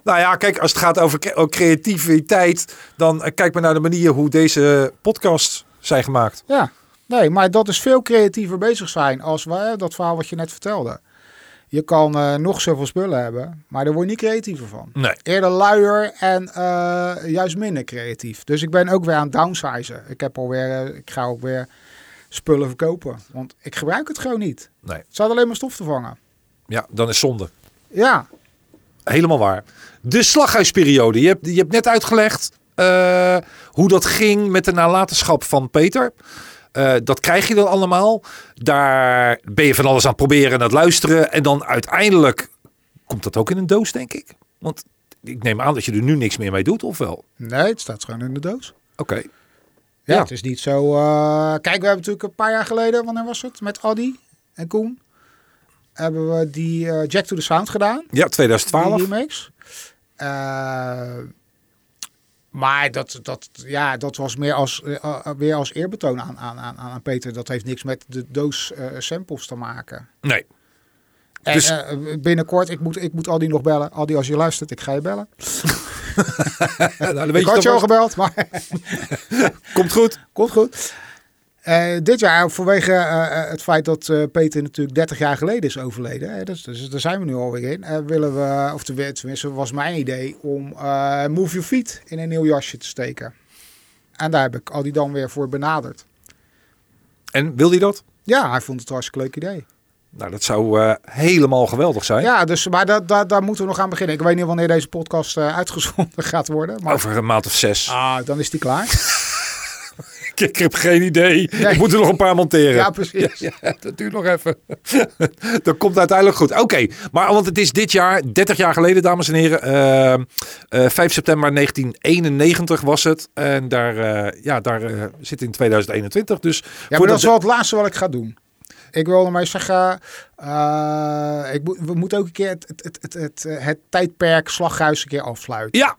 nou ja, kijk, als het gaat over cre- ook creativiteit, dan eh, kijk maar naar de manier hoe deze podcasts zijn gemaakt. Ja, nee, maar dat is veel creatiever bezig zijn als we, dat verhaal wat je net vertelde. Je kan eh, nog zoveel spullen hebben, maar daar word je niet creatiever van. Nee. Eerder luier en eh, juist minder creatief. Dus ik ben ook weer aan het downsizen. Ik, heb alweer, eh, ik ga ook weer spullen verkopen, want ik gebruik het gewoon niet. Nee, Het staat alleen maar stof te vangen. ja, dan is zonde. Ja, Helemaal waar. De slaghuisperiode. Je hebt, je hebt net uitgelegd eh, hoe dat ging met de nalatenschap van Peter. Eh, dat krijg je dan allemaal. Daar ben je van alles aan het proberen en aan het luisteren. En dan uiteindelijk komt dat ook in een doos, denk ik. Want ik neem aan dat je er nu niks meer mee doet, of wel? Oké. nee, het staat gewoon in de doos. Ja, het is niet zo. eh, Kijk, we hebben natuurlijk een paar jaar geleden, wanneer was het? Met Addy en Koen. Hebben we die eh, Jack to the Sound gedaan. Ja, Die 2012. remakes. Eh, maar dat, dat, ja, dat was meer als, eh, eh, weer als eerbetoon aan, aan, aan, aan Peter. Dat heeft niks met de doos eh, samples te maken. Nee. En, Dus- eh, binnenkort, ik moet, ik moet Aldi nog bellen. Aldi, als je luistert, ik ga je bellen. Nou, dan ik had je al toch wel. gebeld, maar... Komt goed. Komt goed. Eh, dit jaar, vanwege eh, eh, het feit dat eh, Peter natuurlijk 30 jaar geleden is overleden, hè, dus, dus daar zijn we nu alweer in, eh, willen we, of tenmin- tenminste was mijn idee, om eh, Move Your Feet in een nieuw jasje te steken. En daar heb ik al die dan weer voor benaderd. En wil hij dat? Ja, hij vond het een hartstikke leuk idee. Nou, dat zou eh, helemaal geweldig zijn. Ja, dus, maar daar daar daar moeten we nog aan beginnen. Ik weet niet wanneer deze podcast eh, uitgezonden gaat worden. Maar Over een maand of zes. ah, dan is die klaar. Ik, ik heb geen idee. Nee. Ik moet er nog een paar monteren. Ja, precies. Ja, dat duurt nog even. dat komt uiteindelijk goed. Oké, maar want het is dit jaar, 30 jaar geleden, dames en heren. eh, eh, 5 september 1991 was het. En daar, eh, ja, daar eh, zit in 2021. Dus Ja, maar voordat dat is de- wel het laatste wat ik ga doen. Ik wil ermee zeggen, eh, ik moet- we moeten ook een keer het, het, het, het, het, eh, het tijdperk slaghuis een keer afsluiten. Ja,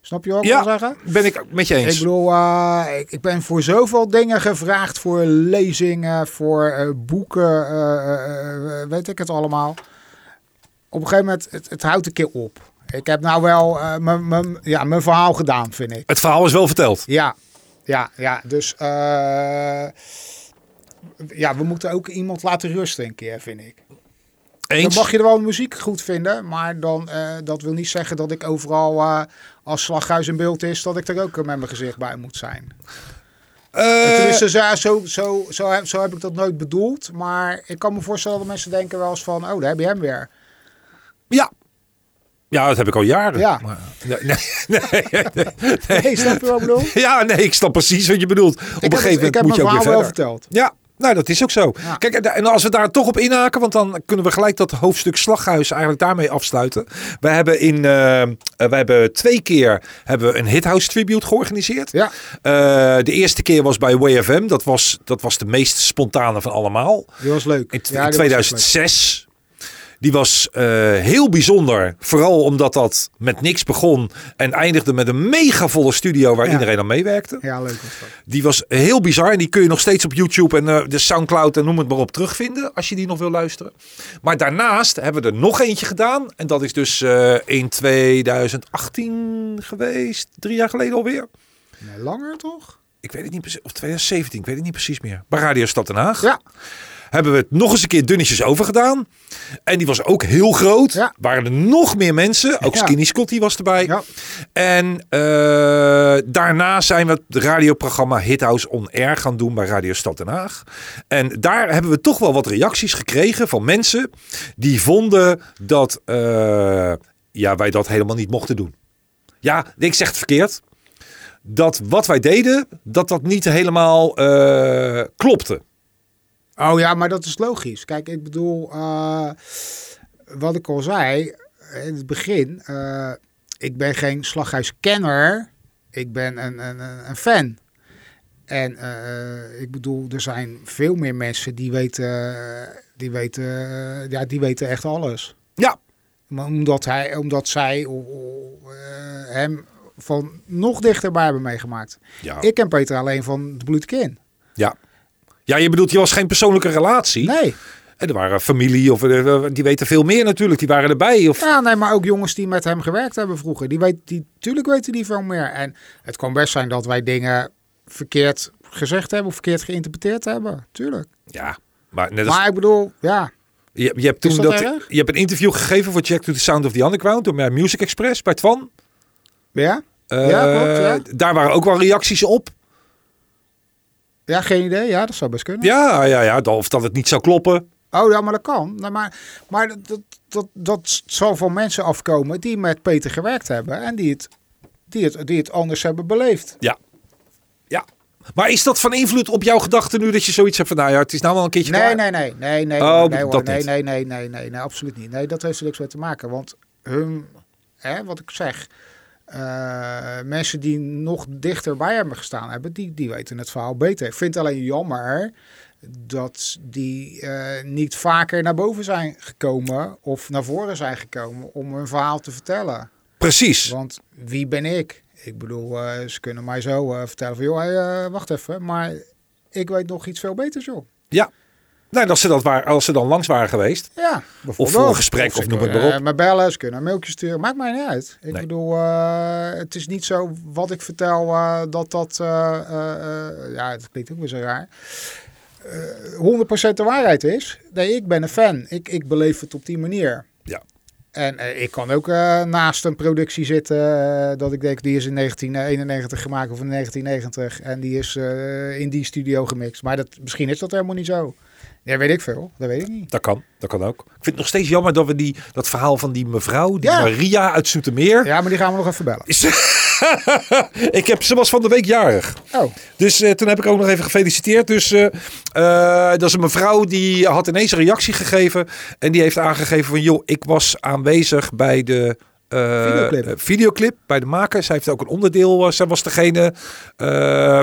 Snap je wat ik Ja. wil zeggen? ben ik met je eens. Ik bedoel, eh, ik, ik ben voor zoveel dingen gevraagd. Voor lezingen, voor eh, boeken, eh, eh, eh, weet ik het allemaal. Op een gegeven moment, het, het houdt een keer op. Ik heb nou wel eh, mijn- mijn- ja, mijn verhaal gedaan, vind ik. Het verhaal is wel verteld. Ja, ja, ja. Dus eh, ja, we moeten ook iemand laten rusten een keer, vind ik. Dan Eens? mag je er wel muziek goed vinden, maar dan, eh, dat wil niet zeggen dat ik overal eh, als slaghuis in beeld is, dat ik er ook eh, met mijn gezicht bij moet zijn. Eh, Tenminste, zo, zo, zo, zo, heb, zo heb ik dat nooit bedoeld, maar ik kan me voorstellen dat mensen denken wel eens van, oh, daar heb je hem weer. ja. Ja, dat heb ik al jaren. Ja. Maar, nee, nee, nee, nee. Nee, snap je wat ik bedoel? Ja, nee, ik snap precies wat je bedoelt. Op een Ik heb het- gegeven ik heb moment moet je mijn ook weer verhaal wel verder. verteld. Ja, Nou, dat is ook zo. Ja. Kijk, en da- en als we daar toch op inhaken, want dan kunnen we gelijk dat hoofdstuk slaghuis eigenlijk daarmee afsluiten. We hebben in, eh, eh, we hebben twee keer hebben we een Hithouse tribute georganiseerd. Ja. Eh, de eerste keer was bij WFM. Dat was, dat was de meest spontane van allemaal. Die was leuk. In, t- Ja, in die was echt leuk. 2006. Die was eh, heel bijzonder. Vooral omdat dat met niks begon. En eindigde met een mega volle studio waar Ja. iedereen aan meewerkte. Ja, leuk. was dat. Die was heel bizar en die kun je nog steeds op YouTube en eh, de Soundcloud en noem het maar op terugvinden als je die nog wil luisteren. Maar daarnaast hebben we er nog eentje gedaan en dat is dus eh, in 2018 geweest, drie jaar geleden alweer. Nee, langer toch? Ik weet het niet precies, of 2017, ik weet het niet precies meer. Bij Radio Stad Den Haag Ja. hebben we het nog eens een keer dunnetjes over gedaan. En die was ook heel groot. Ja. Waren er nog meer mensen. Ook Ja. Skinny Scotty was erbij. Ja. En eh, daarna zijn we het radioprogramma Hithouse On Air gaan doen bij Radio Stad Den Haag. En daar hebben we toch wel wat reacties gekregen van mensen die vonden dat eh, ja, wij dat helemaal niet mochten doen. Ja, ik zeg het verkeerd. Dat wat wij deden, dat dat niet helemaal eh, klopte. Oh ja, maar dat is logisch. Kijk, ik bedoel, eh, wat ik al zei in het begin, eh, ik ben geen slaghuiskenner, ik ben een, een, een een fan. En eh, ik bedoel, er zijn veel meer mensen die weten, die weten, ja, die weten echt alles. Ja, Maar omdat, hij, omdat zij o- o- eh, hem van nog dichterbij hebben meegemaakt. Ja. Ik ken Peter alleen van de bloedkin. Ja. Ja, je bedoelt, je was geen persoonlijke relatie. Nee. En er waren familie, of eh, die weten veel meer natuurlijk, die waren erbij. Of... Ja, nee, maar ook jongens die met hem gewerkt hebben vroeger. Die weet, die, tuurlijk weten die veel meer. En het kan best zijn dat wij dingen verkeerd gezegd hebben of verkeerd geïnterpreteerd hebben. Tuurlijk. Ja, maar net als, Maar ik bedoel, ja. je, je hebt toen Is dat dat erg? je hebt een interview gegeven voor Jack to the Sound of the Underground door eh, Music Express bij Twan. Ja? Eh, Ja, klopt, Daar waren ook wel reacties op. Ja, geen idee. Ja, dat zou best kunnen. Ja, ja, ja, dat- of dat het niet zou kloppen. Oh ja, maar dat kan. Nou, maar maar dat, dat, dat, dat zal van mensen afkomen die met Peter gewerkt hebben en die het, die het, die het anders hebben beleefd. Ja. ja. Maar is dat van invloed op jouw gedachten nu dat je zoiets hebt van, nou ja, het is nou wel een keertje Nee, klaar? nee, nee, nee, nee, Oh, nee, hoor. dat nee, niet. nee, nee, nee, nee, nee, absoluut niet. Nee, dat heeft er niks mee te maken. Want hun, hè, wat ik zeg, eh, mensen die nog dichterbij hebben gestaan hebben, die, die weten het verhaal beter. Ik vind het alleen jammer dat die eh, niet vaker naar boven zijn gekomen of naar voren zijn gekomen om hun verhaal te vertellen. Precies. Want wie ben ik? Ik bedoel, eh, ze kunnen mij zo eh, vertellen van, joh, hey, eh, wacht even, maar ik weet nog iets veel beters, joh. Ja. Nou, als ze, dat waar, als ze dan langs waren geweest. Ja, bijvoorbeeld. voor een gesprek, ze of noem het kunnen, maar op. eh, me bellen, ze kunnen een mailtje sturen. Maakt mij niet uit. Ik Nee. bedoel, eh, het is niet zo wat ik vertel eh, dat dat... eh, eh, eh, ja, dat klinkt ook weer zo raar. Eh 100% de waarheid is. Nee, ik ben een fan. Ik, ik beleef het op die manier. Ja. En eh, ik kan ook eh, naast een productie zitten eh, dat ik denk, die is in 1991 gemaakt of in 1990. En die is eh, in die studio gemixt. Maar dat, misschien is dat helemaal niet zo. Ja, weet ik veel. Dat weet ik niet. Dat kan, dat kan ook. Ik vind het nog steeds jammer dat we die, dat verhaal van die mevrouw, die Ja. Maria uit Zoetermeer. Ja, maar die gaan we nog even bellen. Is, ik heb, ze was van de week jarig. Oh, Dus eh, toen heb ik ook nog even gefeliciteerd. Dus eh, eh, dat is een mevrouw die had ineens een reactie gegeven. En die heeft aangegeven van joh, ik was aanwezig bij de eh, Videoclip. eh, videoclip bij de maker. Zij heeft ook een onderdeel. eh, zij was degene. eh,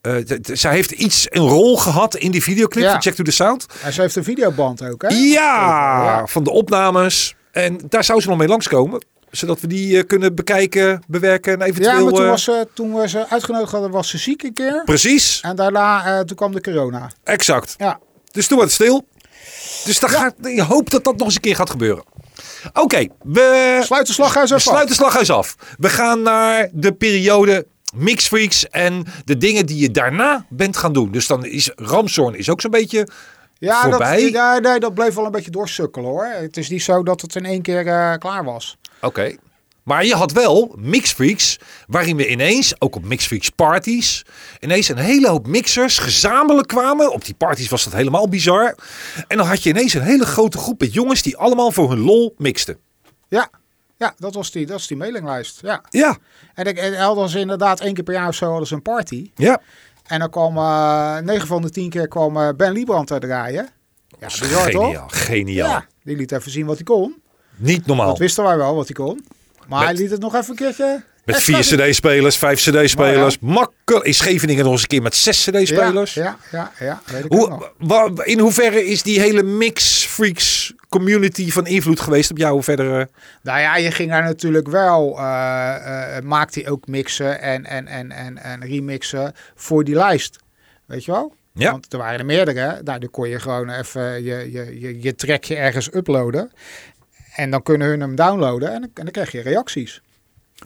eh, d- d- zij heeft iets, een rol gehad in die videoclip Ja. van Check to the Sound. en ze heeft een videoband ook, hè? Ja, van de opnames. En daar zou ze nog mee langskomen. Zodat we die eh, kunnen bekijken, bewerken en eventueel... Ja, maar toen, eh, was ze, toen we ze uitgenodigd hadden, was ze ziek een keer. Precies, En daarna, eh, toen kwam de corona. exact. Ja, Dus toen wordt het stil. Dus dan gaat, ik hoop dat dat nog eens een keer gaat gebeuren. Oké, we sluit de slaghuis we even sluiten slaghuis af. We gaan naar de periode Mixfreaks en de dingen die je daarna bent gaan doen. Dus dan is Ramshorn is ook zo'n beetje... ja, voorbij. Dat, ja, nee, dat bleef wel een beetje doorsukkelen, hoor. Het is niet zo dat het in één keer eh, klaar was. Oké. Maar je had wel Mixfreaks, waarin we ineens, ook op Mixfreaks parties, ineens een hele hoop mixers gezamenlijk kwamen. Op die parties was dat helemaal bizar. En dan had je ineens een hele grote groep met jongens die allemaal voor hun lol mixten. Ja, ja dat, was die, dat is die mailinglijst. Ja. Ja, En, ik, en hadden ze inderdaad één keer per jaar of zo hadden ze een party. ja. En dan kwam eh 9 van de 10 keer kwam eh, Ben Liebrand te draaien. Ja, bizar toch? Geniaal, geniaal. Ja, die liet even zien wat hij kon. Niet normaal. Dat wisten wij wel, wat hij kon. Maar hij Oh. Met- liet het nog even een keertje... Met extra vier zien. cd-spelers, vijf cd-spelers. Makkelijk. In Scheveningen nog eens een keer met zes cd-spelers. Ja, ja, ja. ja weet ik ook nog. Hoe, wa- in hoeverre is die hele Mix Freaks community van invloed geweest op jou eh, verdere... Nou ja, je ging daar natuurlijk wel. eh, eh, maakte hij ook mixen en, en, en, en, en remixen voor die lijst. Weet je wel? Ja. Want er waren er meerdere. Nou, dan kon je gewoon even je, je, je, je trackje ergens uploaden. En dan kunnen hun hem downloaden en, dan- en dan krijg je reacties.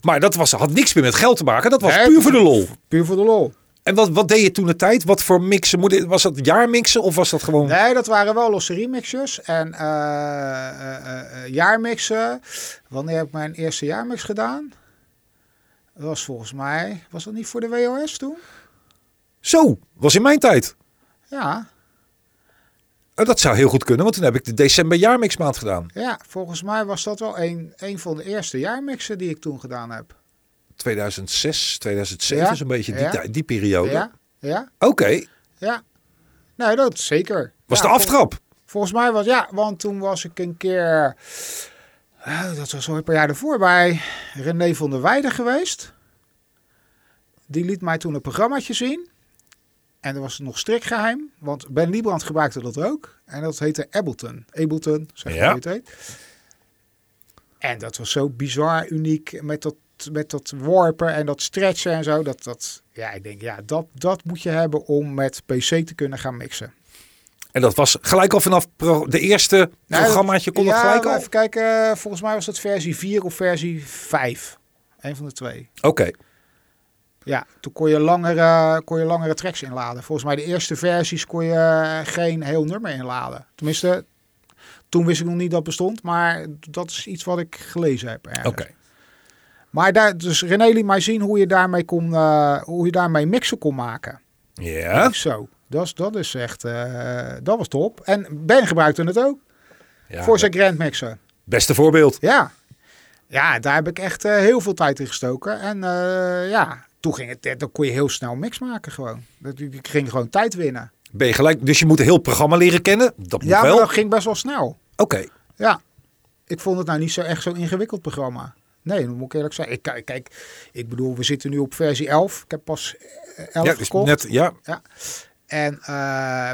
Maar dat was, had niks meer met geld te maken. Dat was Nee, puur voor de lol. Puur voor de lol. En wat, wat deed je toen de tijd? Wat voor mixen? Moet dit- Was dat jaarmixen of was dat gewoon... Nee, dat waren wel losse remixers en eh, eh, eh, eh, jaarmixen. Wanneer heb ik mijn eerste jaarmix gedaan? Dat was volgens mij, was dat niet voor de WOS toen? Zo, was in mijn tijd. Ja, Eh, Dat zou heel goed kunnen, want toen heb ik de december jaarmixmaand gedaan. ja volgens mij was dat wel een, een van de eerste jaarmixen die ik toen gedaan heb. 2006, 2007 Ja, is een beetje die, ja. tij- die periode. Ja, ja, Oké, ja. Nee, dat zeker. was Ja, de vol- aftrap. volgens mij was, ja, want toen was ik een keer, eh, dat was al een paar jaar ervoor, bij René van der Weijden geweest. Die liet mij toen een programmaatje zien. En dat was nog strikt geheim, want Ben Liebrand gebruikte dat ook. En dat heette Ableton. Ableton, zeg maar Ja. hoe het heet. En dat was zo bizar uniek met dat, met dat warpen en dat stretchen en zo. Dat, dat, ja, ik denk, ja, dat, dat moet je hebben om met PC te kunnen gaan mixen. En dat was gelijk al vanaf pro- de eerste Nou, programmaatje kon dat ja, gelijk maar al. Even kijken, eh, volgens mij was dat versie 4 of versie 5. Een van de twee. Oké, Ja, toen kon je langere, kon je langere tracks inladen. Volgens mij de eerste versies kon je eh, geen heel nummer inladen. Tenminste, toen wist ik nog niet dat bestond, maar dat is iets wat ik gelezen heb. ergens. oké. Maar daar, dus René liet mij zien hoe je daarmee, kon, eh, hoe je daarmee mixen kon maken. Ja, Zo, dat is, dat is echt, eh, dat was top. En Ben gebruikte het ook ja voor zijn grand mixen. beste voorbeeld. Ja. Ja, daar heb ik echt eh, heel veel tijd in gestoken. En eh, ja, toen ging het, eh, dan kon je heel snel mix maken gewoon. Dat- Ik ging gewoon tijd winnen. Ben je gelijk, dus je moet een heel programma leren kennen. Dat moet Ja, maar wel. dat Oké, ging best wel snel. Ja, ik vond het nou niet zo echt zo'n ingewikkeld programma. Nee, dat moet ik eerlijk zeggen. Ik, kijk, kijk, ik bedoel, we zitten nu op versie 11. Ik heb pas eh, 11 ja, dus gekocht. net, ja, En, eh,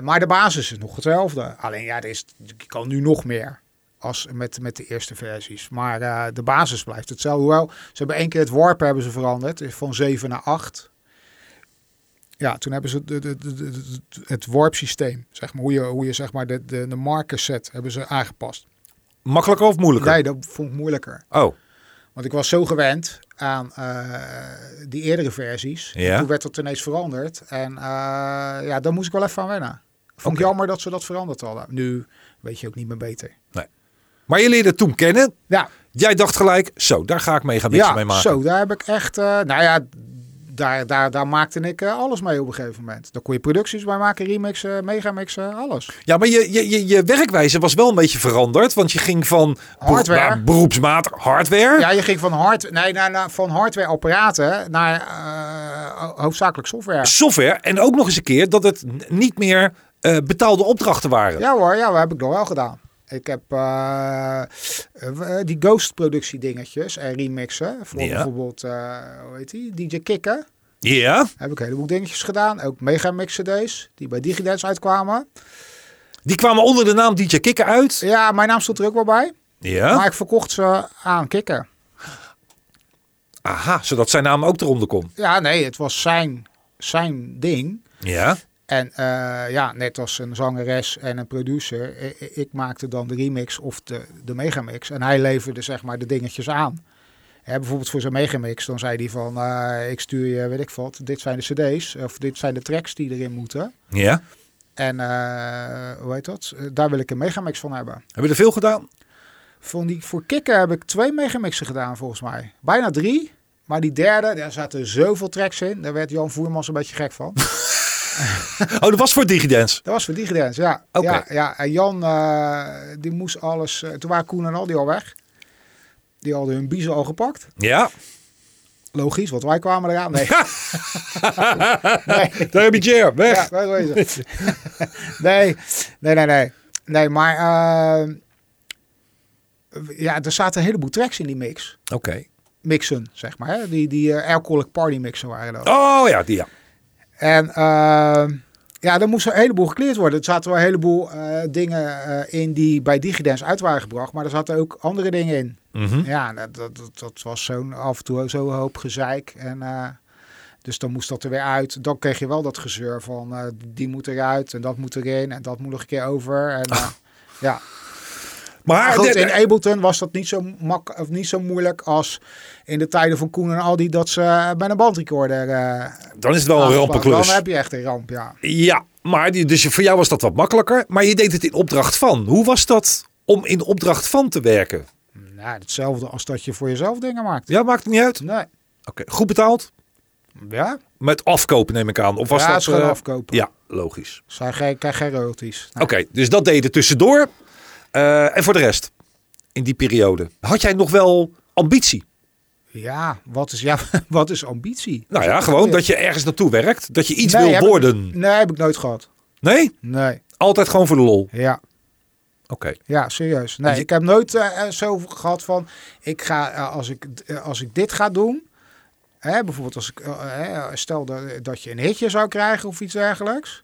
maar de basis is nog hetzelfde. Alleen ja, er is, je kan nu nog meer als met, met de eerste versies. Maar eh, de basis blijft hetzelfde. Hoewel, ze hebben één keer het warp hebben ze veranderd. is Van 7 naar 8. Ja, toen hebben ze de, de, de, de- de- het warp systeem. Zeg maar, hoe je, hoe je zeg maar de, de, de marker set hebben ze aangepast. makkelijker of moeilijker? Nee, dat vond ik moeilijker. Oh, Want ik was zo gewend aan eh, die eerdere versies. Ja. Toen werd dat ineens veranderd. En eh, ja, daar moest ik wel even aan wennen. Vond ik Oké. jammer dat ze dat veranderd hadden. Nu weet je ook niet meer beter. maar je leerde het toen kennen. Ja, Jij dacht gelijk, zo, daar ga ik mee gaan mixen mee ja maken. zo, daar heb ik echt... eh, nou ja, daar, daar, daar maakte ik eh, alles mee op een gegeven moment. Daar kon je producties bij maken, remixen, megamixen, alles. Ja, maar je, je, je, je werkwijze was wel een beetje veranderd. Want je ging van beroep- Hardware. naar beroepsmatig hardware. Ja, je ging van, hard, nee, naar, naar- van hardware-apparaten naar eh, hoofdzakelijk software. Software. En ook nog eens een keer dat het n- niet meer eh, betaalde opdrachten waren. Ja hoor, ja, dat heb ik nog wel gedaan. Ik heb eh, eh, die ghost productie dingetjes en remixen. Voor Ja. bijvoorbeeld, eh, hoe heet die? DJ Kikken. Ja. Heb ik een heleboel dingetjes gedaan. Ook megamix cd's die bij Digidance uitkwamen. Die kwamen onder de naam DJ Kikker uit. Ja, mijn naam stond er ook wel bij. Ja. Maar ik verkocht ze aan Kikken. Aha, zodat zijn naam ook eronder kon. Ja, nee, het was zijn, zijn ding. Ja. En eh, ja, net als een zangeres en een producer. eh, eh, Ik maakte dan de remix of de, de megamix. En hij leverde zeg maar de dingetjes aan. Hè, bijvoorbeeld voor zijn megamix. Dan zei hij van, eh, ik stuur je, weet ik wat, dit zijn de cd's. Of dit zijn de tracks die erin moeten. Ja. En eh, hoe heet dat? Eh, daar wil ik een megamix van hebben. Hebben we er veel gedaan? Van die, voor Kikken heb ik twee megamixen gedaan volgens mij. Bijna drie. Maar die derde, daar zaten zoveel tracks in. Daar werd Jan Voermans een beetje gek van. Oh, dat was voor DigiDance. Dat was voor DigiDance, ja. Oké. Ja, ja. En Jan, eh, die moest alles... eh, toen waren Koen en Aldi al weg. Die hadden hun biezen al gepakt. Ja. Logisch, want wij kwamen eraan. Nee. nee. Daar heb je Jer, weg. Ja, daar is het. nee, nee, nee, nee. Nee, maar eh, ja, er zaten een heleboel tracks in die mix. Oké. Mixen, zeg maar. Hè? Die, die eh, alcoholic party mixen waren dat. Oh ja, die ja. En eh, ja, er moest een heleboel gekleerd worden. Er zaten wel een heleboel eh, dingen eh, in die bij DigiDance uit waren gebracht. Maar er zaten ook andere dingen in. Mhm. Ja, dat, dat, dat- dat was zo'n af en toe zo'n hoop gezeik. En, eh, dus dan moest dat er weer uit. Dan kreeg je wel dat gezeur van eh, die moet eruit en dat moet erin en dat moet nog een keer over. En, Ah. eh, ja. Maar Maar goed, dit- in Ableton was dat niet zo, mak of niet zo moeilijk als in de tijden van Koen en Aldi dat ze eh, bij een bandrecorder... eh dan is het wel Oh, een rampenklus. Dan heb je echt een ramp, ja. Ja, maar die, dus je- voor jou was dat wat makkelijker. Maar je deed het in opdracht van. Hoe was dat om in opdracht van te werken? Nou, hetzelfde als dat je voor jezelf dingen maakt. Ja, maakt het niet uit. Oké, Nee. goed betaald. Ja? Met afkopen neem ik aan. Of was ja, dat het is gewoon eh, afkopen. Ja, logisch. Zij geen- krijg geen royalties. Nou, Oké, dus dat deed het tussendoor. Eh, en voor de rest, in die periode, had jij nog wel ambitie? Ja, wat is, ja, wat is ambitie? Nou ja, gewoon dat je ergens naartoe werkt. Dat je iets Nee, wil heb ik- worden. Nee, heb ik nooit gehad. Nee? Nee. Altijd gewoon voor de lol. Oké. Ja, ja serieus. Nee, Je- ik heb nooit eh, eh, zo gehad van... Ik ga, eh, als, ik, eh, als ik dit ga doen... Hè, bijvoorbeeld als ik... eh, eh, stel dat, dat je een hitje zou krijgen of iets dergelijks.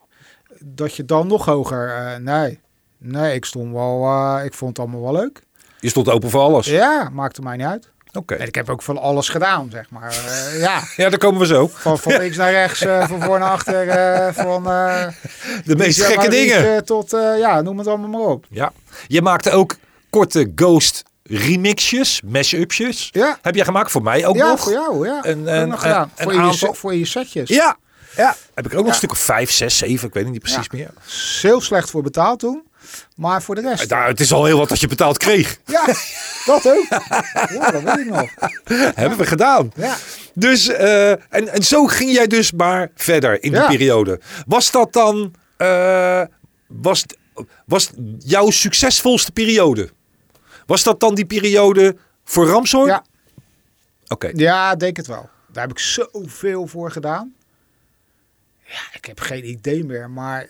Dat je dan nog hoger... eh, nee. Nee, ik stond wel... eh, ik vond het allemaal wel leuk. Je stond open voor alles. Ja, maakte mij niet uit. Oké. En ik heb ook van alles gedaan, zeg maar. Eh, ja, Ja, daar komen we zo. van, van links naar rechts, eh, van voor naar achter, eh, van... eh, De meest Lisa gekke Maurice, dingen. eh, Tot, eh, ja, noem het allemaal maar op. Ja. Je maakte ook korte ghost remixjes, mashups. Ja. Heb jij gemaakt voor mij ook ja, nog? voor jou, ja. Een- Ook een- nog gedaan. een- voor, een je, aantal- set- voor je setjes. Ja. Ja. Heb ik ook nog een Ja. stuk of vijf, zes, zeven. Ik weet het niet precies Ja. meer. Is Heel slecht voor betaald toen. Maar voor de rest. Nou, het is al heel wat dat je betaald kreeg. Ja, dat ook. Ja, dat weet ik nog. Hebben we gedaan. Ja. Dus, eh, en, en zo ging jij dus maar verder in Ja. die periode. Was dat dan, eh, was, was jouw succesvolste periode? Was dat dan die periode voor Ramshoorn? Ja, Oké. ja, denk het wel. Daar heb ik zoveel voor gedaan. Ja, ik heb geen idee meer, maar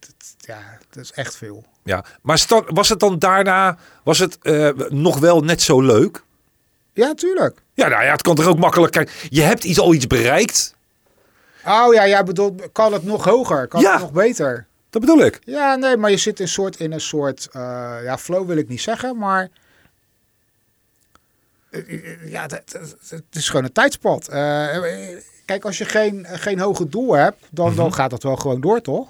het- ja, dat is echt veel. Ja, maar sta- was het dan daarna was het, eh, nog wel net zo leuk? Ja, tuurlijk. Ja, nou ja, het kan toch ook makkelijk. Kijk, je hebt iets, al iets bereikt. Oh ja, jij bedoelt, kan het nog hoger? Kan Ja. het nog beter? Dat bedoel ik. Ja, nee, maar je zit in, soort, in een soort, eh, ja, flow wil ik niet zeggen, maar eh, eh, ja, dat- dat- het is gewoon een tijdspad. Eh, eh, kijk, als je geen, eh, geen hoger doel hebt, dan, dan gaat dat wel gewoon door, toch?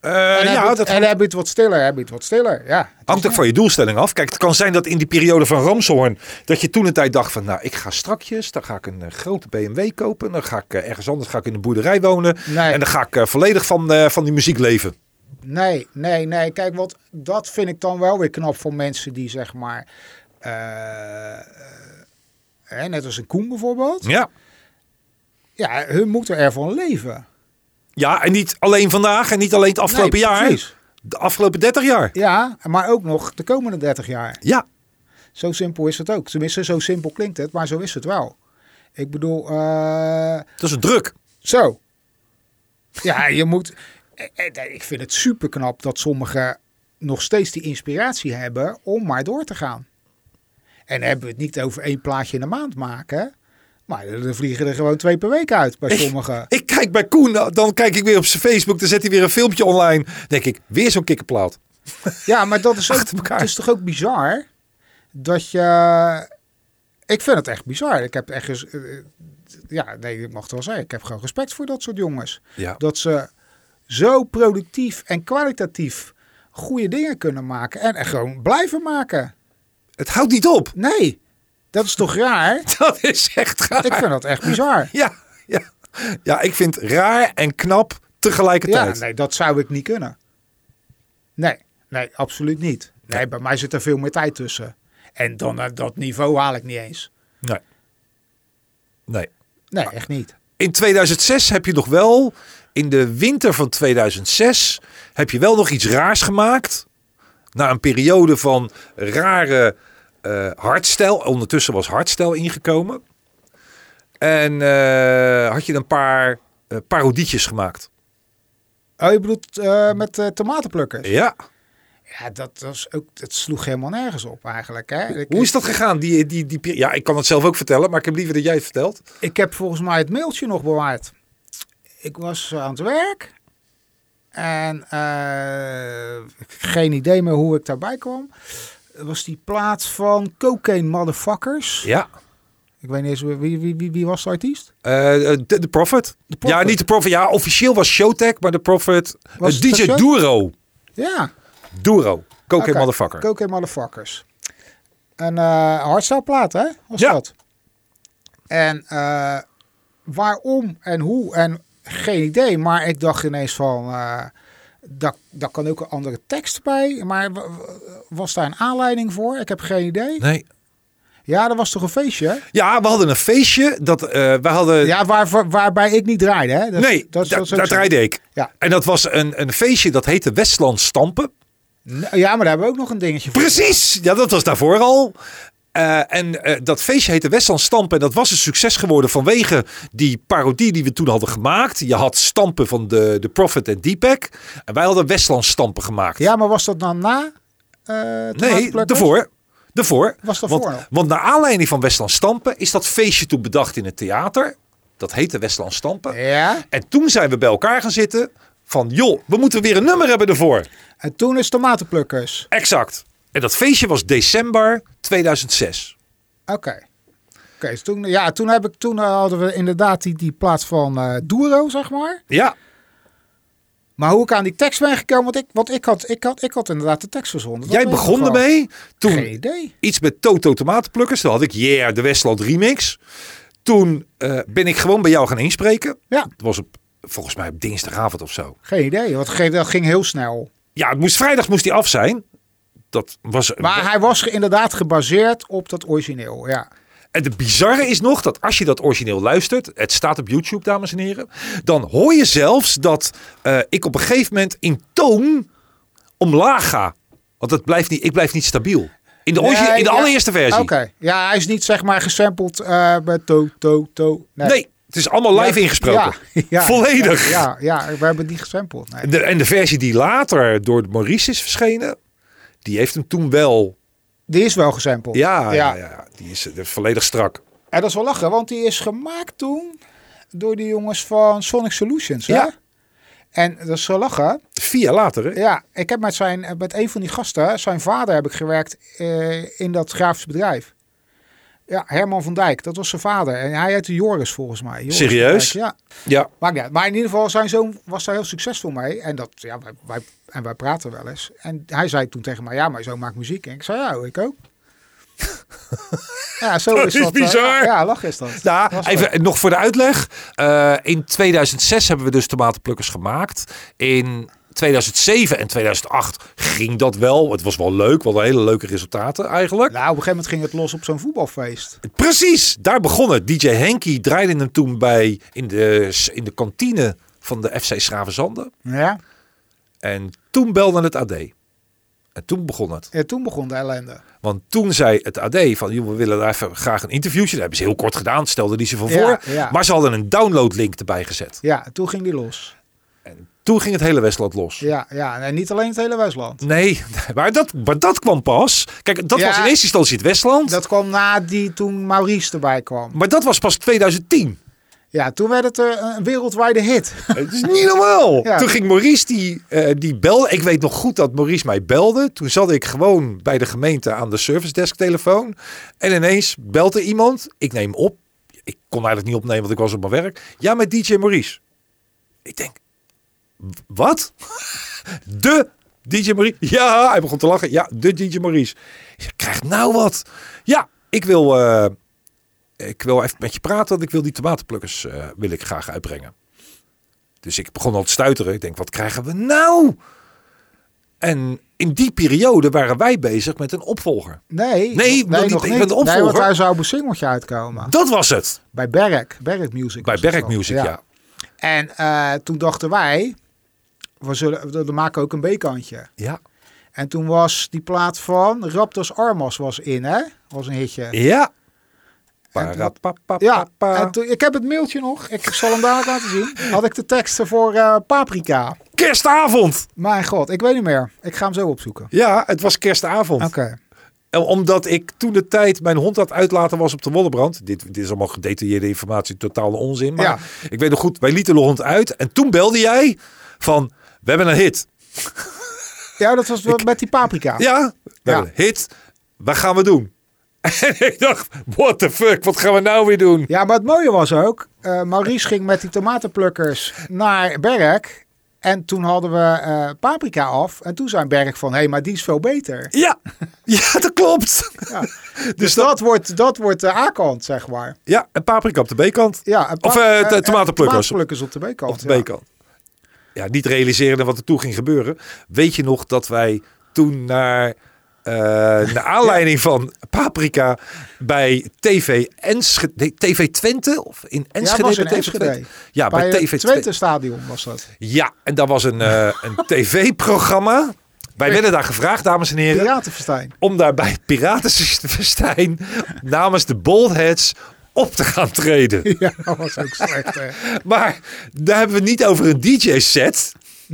Mhm. Eh, en heb ja, je het, dat en heb je het wat stiller, heb je het wat stiller, ja. Dus hangt ook van je doelstelling af. Kijk, het kan zijn dat in die periode van Ramshoorn... dat je toen een tijd dacht van... nou, ik ga strakjes, dan ga ik een eh, grote BMW kopen... dan ga ik eh, ergens anders ga ik in een boerderij wonen... Nee. en dan ga ik eh, volledig van, eh, van die muziek leven. Nee, nee, nee. Kijk, want dat vind ik dan wel weer knap van mensen die, zeg maar, eh, eh, hè, net als een Koen bijvoorbeeld. Ja. Ja, hun moeten ervan leven. ja, en niet alleen vandaag en niet alleen het afgelopen Nee, jaar. precies. De afgelopen 30 jaar. Ja, maar ook nog de komende 30 jaar. Ja, Zo simpel is het ook. Tenminste, zo simpel klinkt het, maar zo is het wel. Ik bedoel, eh, dat is een druk. zo. Ja, je moet. eh, eh, Ik vind het super knap dat sommigen nog steeds die inspiratie hebben om maar door te gaan. En dan hebben we het niet over één plaatje in de maand maken. Maar er vliegen er gewoon twee per week uit bij sommigen. Ik kijk bij Koen, nou, dan kijk ik weer op zijn Facebook, dan zet hij weer een filmpje online. Dan Denk ik, weer zo'n kikkerplaat. Ja, maar dat is, ook, Achter elkaar. het is toch ook bizar dat je. Ik vind het echt bizar. Ik heb echt. eens- eh, eh, Ja, nee, ik mag het wel zeggen. Ik heb gewoon respect voor dat soort jongens. Ja. Dat ze zo productief en kwalitatief goede dingen kunnen maken. En, en gewoon blijven maken. Het houdt niet op. Nee, dat is toch raar? Dat is echt raar. Ik vind dat echt bizar. Ja, ja. ja, ik vind raar en knap Ja, tegelijkertijd. nee, dat zou ik niet kunnen. Nee, nee, absoluut niet. Nee, bij mij zit er veel meer tijd tussen. En dan naar dat niveau haal ik niet eens. nee. nee. Nee, Ah. echt niet. In 2006 heb je nog wel, in de winter van 2006, heb je wel nog iets raars gemaakt. Na een periode van rare eh hardstijl. Ondertussen was hardstijl ingekomen. En eh, had je een paar eh, parodietjes gemaakt. Oh, je bedoelt eh, met eh, tomatenplukkers? Ja. Ja, dat, was ook, dat sloeg helemaal nergens op eigenlijk. Hè? Ik, Hoe is dat gegaan? Die, die, die, peri- ja, ik kan het zelf ook vertellen, maar ik heb liever dat jij het vertelt. Ik heb volgens mij het mailtje nog bewaard. Ik was eh, aan het werk. En eh, geen idee meer hoe ik daarbij kwam. Het was die plaats van Cocaine Motherfuckers. Ja. Ik weet niet eens wie, wie, wie, wie- wie was de artiest. Eh, de, de Prophet. Prophet. Ja, niet de Prophet. Ja, officieel was Showtek, maar de Prophet. Was eh, het DJ Showtek? Duro. Ja. Duro. Cocaine Oké, motherfucker. Cocaine Motherfuckers. Een eh hardstyle plaat, hè? Was Ja. dat? En eh, waarom en hoe en geen idee. Maar ik dacht ineens van, eh daar, daar kan ook een andere tekst bij. Maar w- w- was daar een aanleiding voor? Ik heb geen idee. nee. Ja, dat was toch een feestje? hè? Ja, we hadden een feestje. Dat, eh we hadden... Ja, waar, waar- waarbij ik niet draaide, hè? Dat- nee, dat, da- dat is ook daar zo. draaide ik. Ja. En dat was een, een feestje dat heette Westland Stampen. Nou, ja, maar daar hebben we ook nog een dingetje voor. Precies! Ja, dat was daarvoor al. Eh, en eh, dat feestje heette Westland Stampen. En dat was een succes geworden vanwege die parodie die we toen hadden gemaakt. Je had Stampen van de, de Prophet en Deepak. En wij hadden Westland Stampen gemaakt. Ja, maar was dat dan na? eh nee, Tomatenplukkers? daarvoor. Daarvoor. Was daarvoor want, al. want naar aanleiding van Westland Stampen is dat feestje toen bedacht in het theater. Dat heette Westland Stampen. Ja, En toen zijn we bij elkaar gaan zitten van joh, we moeten weer een nummer hebben ervoor. en toen is Tomatenplukkers. Exact. En dat feestje was december 2006. Oké. Oké, dus toen, ja, toen, heb ik, toen eh, hadden we inderdaad die, die plaats van eh Duro, zeg maar. Ja, Maar hoe ik aan die tekst ben gekomen, want ik, want ik, had, ik, had, ik had inderdaad de tekst verzonnen. Dat jij weet ik nog begon wel. ermee. Toen Geen idee. iets met Toto Tomatenplukkers. Toen had ik Yeah, de Westland Remix. Toen eh, ben ik gewoon bij jou gaan inspreken. Ja. Het was op, volgens mij op dinsdagavond of zo. Geen idee, want ge- dat ging heel snel. Ja, het moest, vrijdag moest die af zijn. Dat was, Maar hij was ge- inderdaad gebaseerd op dat origineel, ja. En het bizarre is nog dat als je dat origineel luistert, het staat op YouTube, dames en heren, dan hoor je zelfs dat eh, ik op een gegeven moment in toon omlaag ga. Want het blijft niet, ik blijf niet stabiel. In de, origi- Nee, in de ja. allereerste versie. Oké, ja, hij is niet zeg maar gesampled eh met to, to, to. nee. het is allemaal live ingesproken. Ja, ja, Volledig. Ja, ja, we hebben het niet gesampled. Nee. En, de, en de versie die later door Maurice is verschenen, die heeft hem toen wel. Die is wel gesampled. Ja, ja. Ja, die is eh, volledig strak. En dat is wel lachen, want die is gemaakt toen door die jongens van Sonic Solutions. Hè? Ja. En dat is wel lachen. Vier jaar later, hè? Ja, ik heb met, zijn, met een van die gasten, zijn vader, heb ik gewerkt eh, in dat grafisch bedrijf. Ja, Herman van Dijk, dat was zijn vader. En hij heette Joris volgens mij. Joris van Serieus? Dijk, ja. Ja. Maakt niet uit. Maar in ieder geval, zijn zoon was daar heel succesvol mee. En, dat, ja, wij, wij, en wij praten wel eens. En hij zei toen tegen mij, ja, mijn zoon maakt muziek. En ik zei, ja, ik ook. ja, zo Dat is is dat. eh, bizar. ja, lach is dat. Nou, Dat was leuk. even nog voor de uitleg. Eh, in 2006 hebben we dus tomatenplukkers gemaakt. In 2007 en 2008 ging dat wel. Het was wel leuk, wel hele leuke resultaten eigenlijk. Nou, op een gegeven moment ging het los op zo'n voetbalfeest. Precies, daar begon het. DJ Henky draaide hem toen bij in de, in de kantine van de FC Schravenzanden. Ja. En toen belde het AD. En toen begon het. En toen begon de ellende. Want toen zei het AD van, joh, we willen daar even graag een interviewtje. Dat hebben ze heel kort gedaan, stelden die ze van Ja, voor. ja. Maar ze hadden een downloadlink erbij gezet. Ja, toen ging die los. Toen ging het hele Westland los. Ja, ja. En niet alleen het hele Westland. Nee, maar dat, maar dat kwam pas. Kijk, dat Ja. was in eerste instantie het Westland. Dat kwam na die toen Maurice erbij kwam. Maar dat was pas 2010. Ja, toen werd het eh, een wereldwijde hit. Het is niet normaal. Ja. Toen ging Maurice die, eh, die belde. Ik weet nog goed dat Maurice mij belde. Toen zat ik gewoon bij de gemeente aan de service desk telefoon. En ineens belt er iemand. Ik neem op. Ik kon eigenlijk niet opnemen, want ik was op mijn werk. Ja, met DJ Maurice. Ik denk, w- wat? De DJ Maurice. Ja, hij begon te lachen. Ja, de DJ Maurice. Je krijgt nou wat. Ja, ik wil, eh, ik wil even met je praten, want ik wil die tomatenplukkers eh, wil ik graag uitbrengen. Dus ik begon al te stuiteren. Ik denk, wat krijgen we nou? En in die periode waren wij bezig met een opvolger. Nee, Nee, ik nog- wil niet- ik ben de opvolger. Nee, want daar zou een singeltje uitkomen. Dat was het. Bij Berk. Berk Music. Bij was dat Berk dan. Music, ja. En eh, toen dachten wij, we, zullen, we- we maken ook een B-kantje. Ja. En toen was die plaat van Raptors Armas was in, hè? Was een hitje. Ja. Parapapapapa. Ja, en toen- ik heb het mailtje nog. Ik zal hem dadelijk laten zien. Had ik de teksten voor eh, Paprika. Kerstavond! Mijn god, ik weet niet meer. Ik ga hem zo opzoeken. Ja, het was kerstavond. Oké. En Omdat ik toen de tijd mijn hond had uitlaten was op de Wollebrand. Dit, dit is allemaal gedetailleerde informatie, totale onzin. Maar Ja. ik weet nog goed, wij lieten de hond uit. En toen belde jij van, we hebben een hit. Ja, dat was wel met die Paprika. Ja, we hebben een hit. Wat gaan we doen? En ik dacht, what the fuck, wat gaan we nou weer doen? Ja, maar het mooie was ook, eh, Maurice ging met die tomatenplukkers naar Berk. En toen hadden we eh, paprika af. En toen zei Berk van, hé, hey, maar die is veel beter. Ja, ja dat klopt. Ja. Dus, Dus dat, dat wordt, dat wordt de A-kant, zeg maar. ja, en paprika op de B-kant. Ja, en pa- Of, eh, en- t- en tomatenplukkers. Tomatenplukkers op de B-kant. op de B-kant. Ja, niet realiserende wat er toen ging gebeuren. Weet je nog dat wij toen naar, eh naar aanleiding van Paprika bij TV, Enschede, nee, TV Twente of in Ja, Enschede? was in bij TV Enschede. Twente? Ja, bij, het TV Twente stadion was dat. Ja, en daar was een, eh, een tv-programma. Wij werden daar gevraagd, dames en heren Piratenfestijn. om daar bij Piratenfestijn namens de Boldheads op te gaan treden. Ja, dat was ook slecht. hè. Maar daar hebben we het niet over een DJ-set.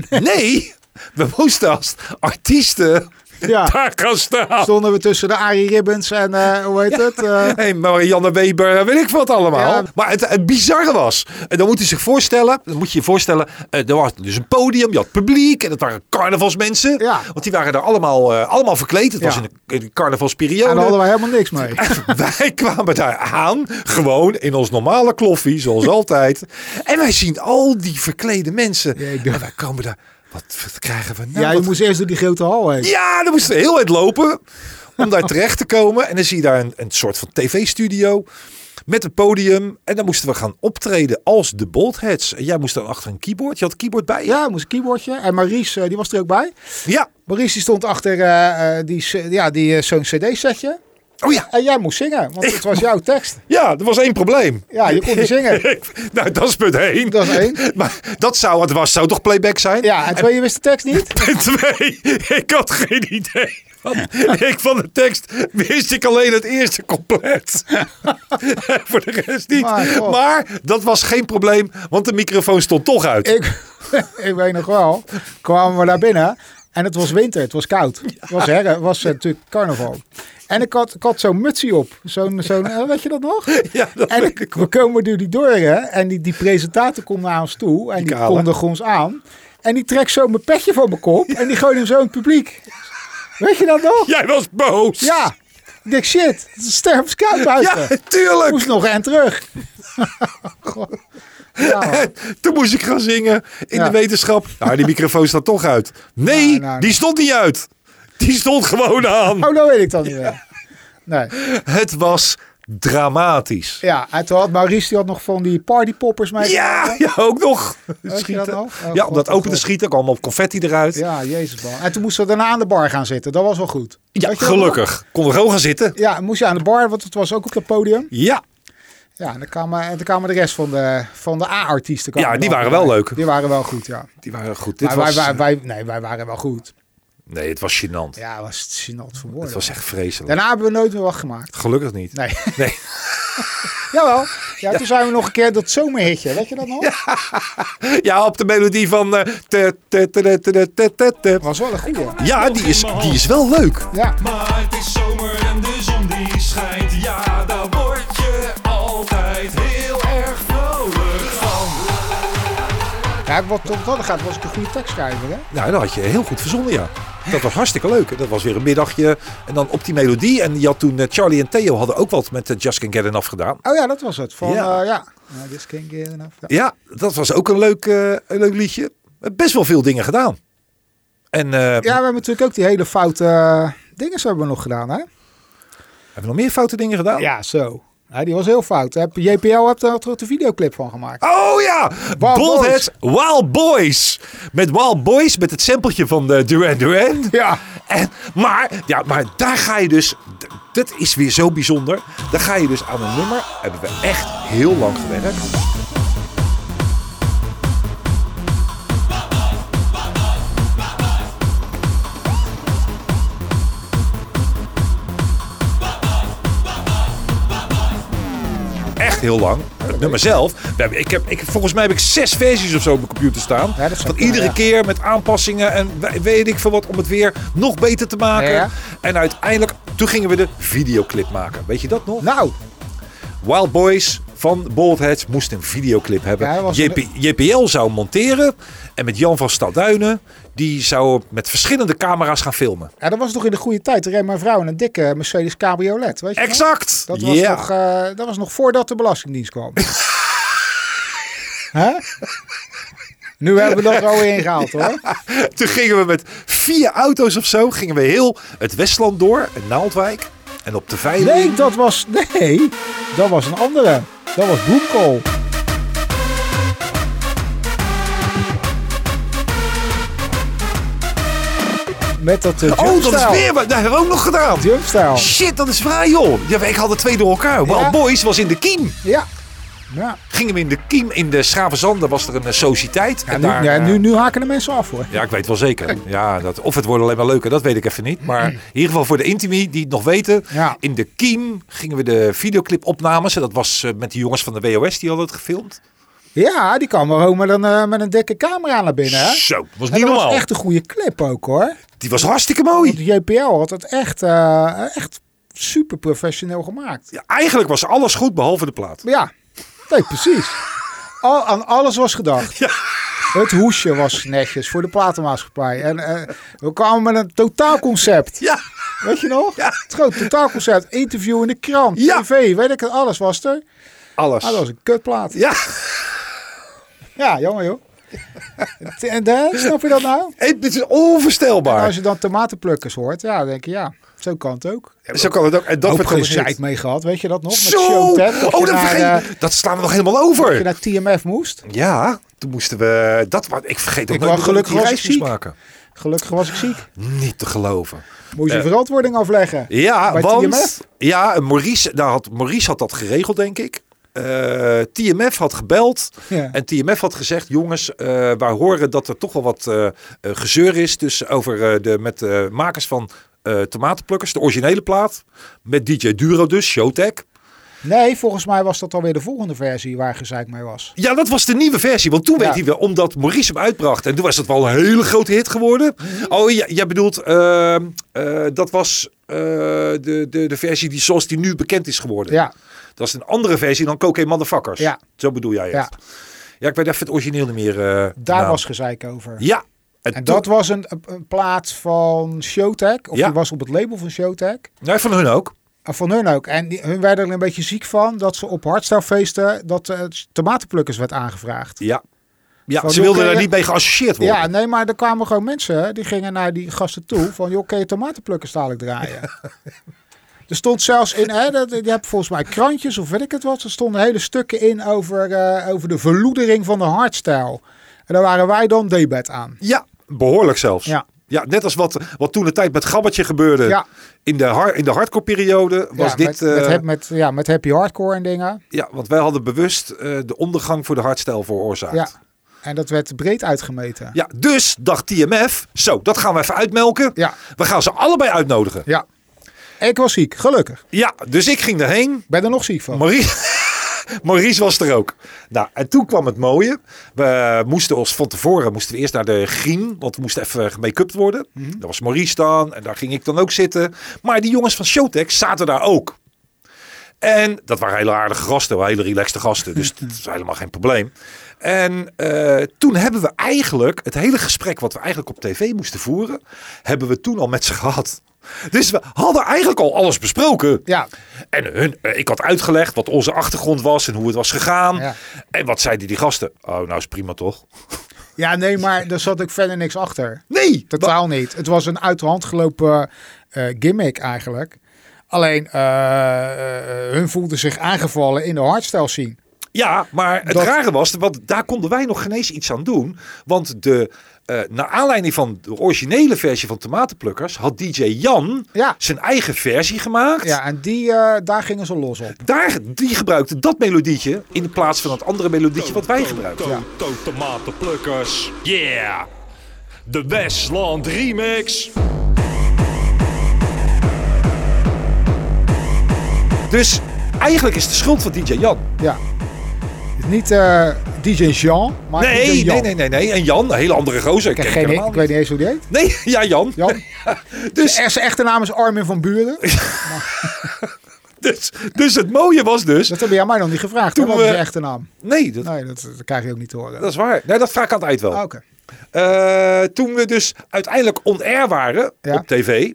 Nee. we moesten als artiesten Ja. daar gaan staan. Stonden we tussen de Arie Ribbons en eh, hoe heet het? Eh, Hey, Marianne Weber, weet ik wat allemaal. Ja. Maar het, het bizarre was, en dan moet je zich voorstellen, dan moet je je voorstellen, eh, er was dus een podium, je had publiek en dat waren carnavalsmensen. Ja. Want die waren daar allemaal, eh, allemaal verkleed. Het Ja. was in de, in de carnavalsperiode. en daar hadden wij helemaal niks mee. wij kwamen daar aan, gewoon in ons normale kloffie, zoals altijd. En wij zien al die verklede mensen. Ja, ik dacht- en wij komen daar. Wat, wat krijgen we nou? Ja, je Wat- moest eerst door die grote hal heen. ja, dan moesten we heel hard lopen om daar terecht te komen. En dan zie je daar een, een soort van tv-studio met een podium. En dan moesten we gaan optreden als de Boldheads. En jij moest dan achter een keyboard. Je had een keyboard bij je? Ja, moest een keyboardje. En Maurice, eh, die was er ook bij. Ja. Maurice die stond achter eh, eh, die, c- ja, die, eh, zo'n cd-setje. Oh ja. En jij moest zingen, want het was jouw tekst. Ja, er was één probleem. Ja, je kon niet zingen. nou, dat is punt één. Dat is één. Maar dat zou, het was, zou toch playback zijn? Ja, en twee, je wist de tekst niet. En twee, ik had geen idee. Van. Ik van de tekst wist ik alleen het eerste compleet. En Voor de rest niet. Maar Maar, God. dat was geen probleem, want de microfoon stond toch uit. Ik, ik weet nog wel, kwamen we daar binnen en het was winter, het was koud. Het was, herre, het was eh, natuurlijk carnaval. En ik had, ik had zo'n mutsie op, zo'n, zo'n, eh, weet je dat nog? Ja, dat en weet ik- we komen door die doren en die, die presentator komt naar ons toe en die, kale. kondigt ons aan. En die trekt zo mijn petje van mijn kop en die gooit hem zo in het publiek. Weet je dat nog? Jij was boos. Ja. Ik denk, shit, het is stervenskoud buiten. Ja, tuurlijk. Moest nog en terug. God. Ja, man. En toen moest ik gaan zingen in Ja. de wetenschap. Nou, die microfoon staat toch uit. Nee, Nou, nou, die nou. stond niet uit. Die stond gewoon aan. oh, dat weet ik dan niet meer. Nee. Het was dramatisch. Ja, en toen had Maurice die had nog van die partypoppers mee. Ja, ja, ook nog. dat Schieten. nog? Oh, ja, om God, dat oh, open te God. schieten kwam op confetti eruit. Ja, jezus man. En toen moesten we daarna aan de bar gaan zitten. Dat was wel goed. Ja, Weet je dat nog? gelukkig. Kon er gewoon gaan zitten. Ja, moest je aan de bar, want het was ook op het podium. Ja, Ja, en dan kwamen, en dan kwamen de rest van de, van de A-artiesten. kwamen Ja, die dan waren voorbij. wel leuk. Die waren wel goed, ja. die waren goed. Dit Maar was, wij, wij, wij- nee, wij waren wel goed. nee, het was gênant. Ja, was het gênant voor het woorden. was echt vreselijk. Daarna hebben we nooit meer wat gemaakt. Gelukkig niet. Nee. Nee. Jawel. Ja, toen zijn we nog een keer dat zomerhitje. Weet je dat nog? Dat Ja, op de melodie van... eh, te, te, te, te, te, te, te, te. was wel een goede. Ja, die is, die is wel leuk. Ja. Maar het is zomer en de zon die schijnt. Ja, daar word je altijd heel erg vrolijk van. ja, wat tot dat gaat, was ik een goede tekstschrijver. Hè? Nou, dat had je heel goed verzonnen, ja. Dat was hartstikke leuk. Dat was weer een middagje. En dan op die melodie. En je had toen... eh, Charlie en Theo hadden ook wat met eh, Just Can Get Enough gedaan. Oh ja, dat was het. Van, Ja. ja. ja. Nou, this can't get enough. Ja. Ja, dat was ook een leuk, eh, een leuk liedje. Best wel veel dingen gedaan. En eh, ja, we hebben natuurlijk ook die hele foute eh, dingen hebben we nog gedaan. Hè? hebben we nog meer foute dingen gedaan? Ja, zo. Ja, die was heel fout. Heb- JPL hebt daar toch de videoclip van gemaakt. Oh ja, Wild Boldheads, Wild Boys. Met Wild Boys, met het sampletje van de Duran Duran. Ja. En, maar, ja, maar daar ga je dus, d- dat is weer zo bijzonder. Daar ga je dus aan een nummer, hebben we echt heel lang gewerkt. echt heel lang. Het nummer zelf. We hebben- Ik heb, ik, volgens mij heb ik zes versies of zo op mijn computer staan. Ja, dat zou van kunnen, iedere ja. keer met aanpassingen en we- weet ik veel wat om het weer nog beter te maken. Ja, ja. En uiteindelijk, toen gingen we de videoclip maken. Weet je dat nog? Nou, Wild Boys van Bald Heads moest een videoclip hebben. Ja, hij was JP, JPL zou monteren. En met Jan van Stadduinen, die zou met verschillende camera's gaan filmen. ja, dat was nog in de goede tijd. Er reed mijn vrouw in een dikke Mercedes cabriolet. Weet je nog? Exact! Dat was, Ja. nog, eh, dat was nog voordat de Belastingdienst kwam. Hè? Nu hebben we dat er al ingehaald hoor. Toen gingen we met vier auto's of zo, gingen we heel het Westland door, en Naaldwijk. En op de Veiling. Nee, dat was. Nee, dat was een andere. Dat was Bloemkool. Met dat eh, oh, dat is jumpstyle. weer wat. Dat hebben we ook nog gedaan. Jumpstyle. Shit, dat is waar joh. Ja, ik had de twee door elkaar. Wild Ja. Boys was in de kiem. Ja. Ja, Gingen we in de kiem, in de Schravenzanden was er een eh, sociëteit. ja, nu, ja eh, nu, nu haken de mensen af hoor. Ja, ik weet wel zeker. Ja, dat, of het wordt alleen maar leuker, dat weet ik even niet. Maar in ieder geval voor de intimi die het nog weten. Ja. In de kiem gingen we de videoclip opnames. En dat was eh, met de jongens van de WOS die hadden het gefilmd. Ja, die kwam maar ook met een, eh, met een dikke camera naar binnen. Hè? Zo, was En niet dat normaal. was echt een goede clip ook hoor. Die was hartstikke mooi. Want JPL had het echt, eh, echt super professioneel gemaakt. Ja, eigenlijk was alles goed behalve de plaat. Ja, nee, precies. Al, aan alles was gedacht. Het hoesje was netjes voor de platenmaatschappij. En eh, we kwamen met een totaalconcept. Ja, Weet je nog? Ja. Het grote totaalconcept. Interview in de krant, Ja. tv, weet ik het. Alles was er. alles. Maar dat was een kutplaat. Ja, Ja, jammer joh. En daar, snap je dat nou? het is onvoorstelbaar. Als je dan tomatenplukkers hoort, ja, dan denk je ja, zo kan het ook. Zo kan het ook. En dat Ook werd gewoon gewoon nou, gezeik mee gehad, weet je dat nog? Met Zo! Showtap, dat Oh, je dat, naar, vergeet, eh, dat slaan we nog helemaal dat je over. naar TMF moest. Ja, toen moesten we... Dat, wa- ik vergeet ook Ik nooit was meer dat gelukkig was die ik reis moest ziek. maken. Gelukkig was ik ziek. Niet te geloven. Moest je Eh. verantwoording afleggen. Ja, Bij want TMF? ja, Maurice, daar had, Maurice had dat geregeld, denk ik. Eh, TMF had gebeld Ja. en TMF had gezegd: Jongens, eh wij horen dat er toch wel wat eh, eh, gezeur is tussen, over, eh, de, met de makers van eh, Tomatenplukkers, de originele plaat. Met DJ Duro, dus Showtech. Nee, volgens mij was dat alweer de volgende versie waar gezeik mee was. Ja, dat was de nieuwe versie. Want toen Ja. weet hij wel, omdat Maurice hem uitbracht. En toen was dat wel een hele grote hit geworden. Mhm. Oh, ja, jij bedoelt, ehm, eh, dat was eh, de, de, de versie die zoals die nu bekend is geworden. Ja, Dat is een andere versie dan Cocaine Motherfuckers. Ja. Zo bedoel jij het. Ja. Ja, ik weet even het origineel niet meer. eh, daar naam. was gezeik over. Ja. En, En toen- dat was een, een- een plaat van Showtek. Of Ja. die was op het label van Showtek. Nee, van hun ook. En Van hun ook. En die- hun werden er een beetje ziek van dat ze op hardstylefeesten dat eh, tomatenplukkers werd aangevraagd. Ja. Ja, Van, ze wilden oké, daar ja. niet mee geassocieerd worden. Ja, nee, maar er kwamen gewoon mensen die gingen naar die gasten toe van joh, kun je tomatenplukkers dadelijk draaien? Er stond zelfs in, hè, dat, je hebt volgens mij krantjes of weet ik het wat, er stonden hele stukken in over, eh, over de verloedering van de hardstyle. En daar waren wij dan debat aan. Ja, behoorlijk zelfs. Ja. Ja, net als wat, wat toen de tijd met Gabbertje gebeurde. Ja. In de, har, in de hardcore periode was ja, dit... met, met, eh, hap- met, ja, met happy hardcore en dingen. Ja, want wij hadden bewust eh, de ondergang voor de hardstijl veroorzaakt. Ja. En dat werd breed uitgemeten. Ja, dus dacht TMF, zo, dat gaan we even uitmelken. Ja. We gaan ze allebei uitnodigen. ja. Ik was ziek, gelukkig. Ja, dus ik ging erheen. Ik ben er nog ziek van. Maurice, Maurice was er ook. Nou, en toen kwam het mooie. We moesten ons van tevoren moesten we eerst naar de grien, want we moesten even gemake-upt worden. Daar was Maurice dan en daar ging ik dan ook zitten. Maar die jongens van Showtech zaten daar ook. En dat waren hele aardige gasten, wel hele relaxte gasten. Dus dat is helemaal geen probleem. En eh, toen hebben we eigenlijk het hele gesprek wat we eigenlijk op tv moesten voeren, hebben we toen al met ze gehad. Dus we hadden eigenlijk al alles besproken. Ja. En hun, eh, ik had uitgelegd wat onze achtergrond was en hoe het was gegaan. Ja. En wat zeiden die gasten? Oh, nou is prima toch? ja, nee, maar daar zat ook verder niks achter. Nee, wa- Totaal niet. Het was een uit de hand gelopen eh, gimmick eigenlijk. Alleen eh, eh, hun voelden zich aangevallen in de hardstyle scene. Ja, maar het Dat- rare was, want daar konden wij nog geen eens iets aan doen. Want de, eh naar aanleiding van de originele versie van Tomatenplukkers had DJ Jan Ja. zijn eigen versie gemaakt. Ja, en die, eh, daar gingen ze los op. Daar, die gebruikte dat melodietje in de plaats van het andere melodietje wat wij gebruikten. To, Ja. to, tomatenplukkers. Yeah! De Westland Remix. Dus Eigenlijk is het de schuld van DJ Jan. Ja. Niet eh, DJ Jean, maar DJ Nee, Jan. nee, nee, nee, nee. En Jan, een hele andere gozer. Ik Ik, ken hem heb geen, helemaal ik weet niet eens hoe die heet. niet. Nee, ja, Jan. Jan. Dus Zijn zijn echte naam is Armin van Buren. Dus, dus het mooie was dus. Dat hebben jij mij nog niet gevraagd. Toen Toen wat is we- je echte naam? Nee, dat, Nee, dat, dat krijg je ook niet te horen. dat is waar. Nee, dat vraag ik aan het eind wel. Ah, Oké. Eh, toen we dus uiteindelijk on-air waren Ja. op tv.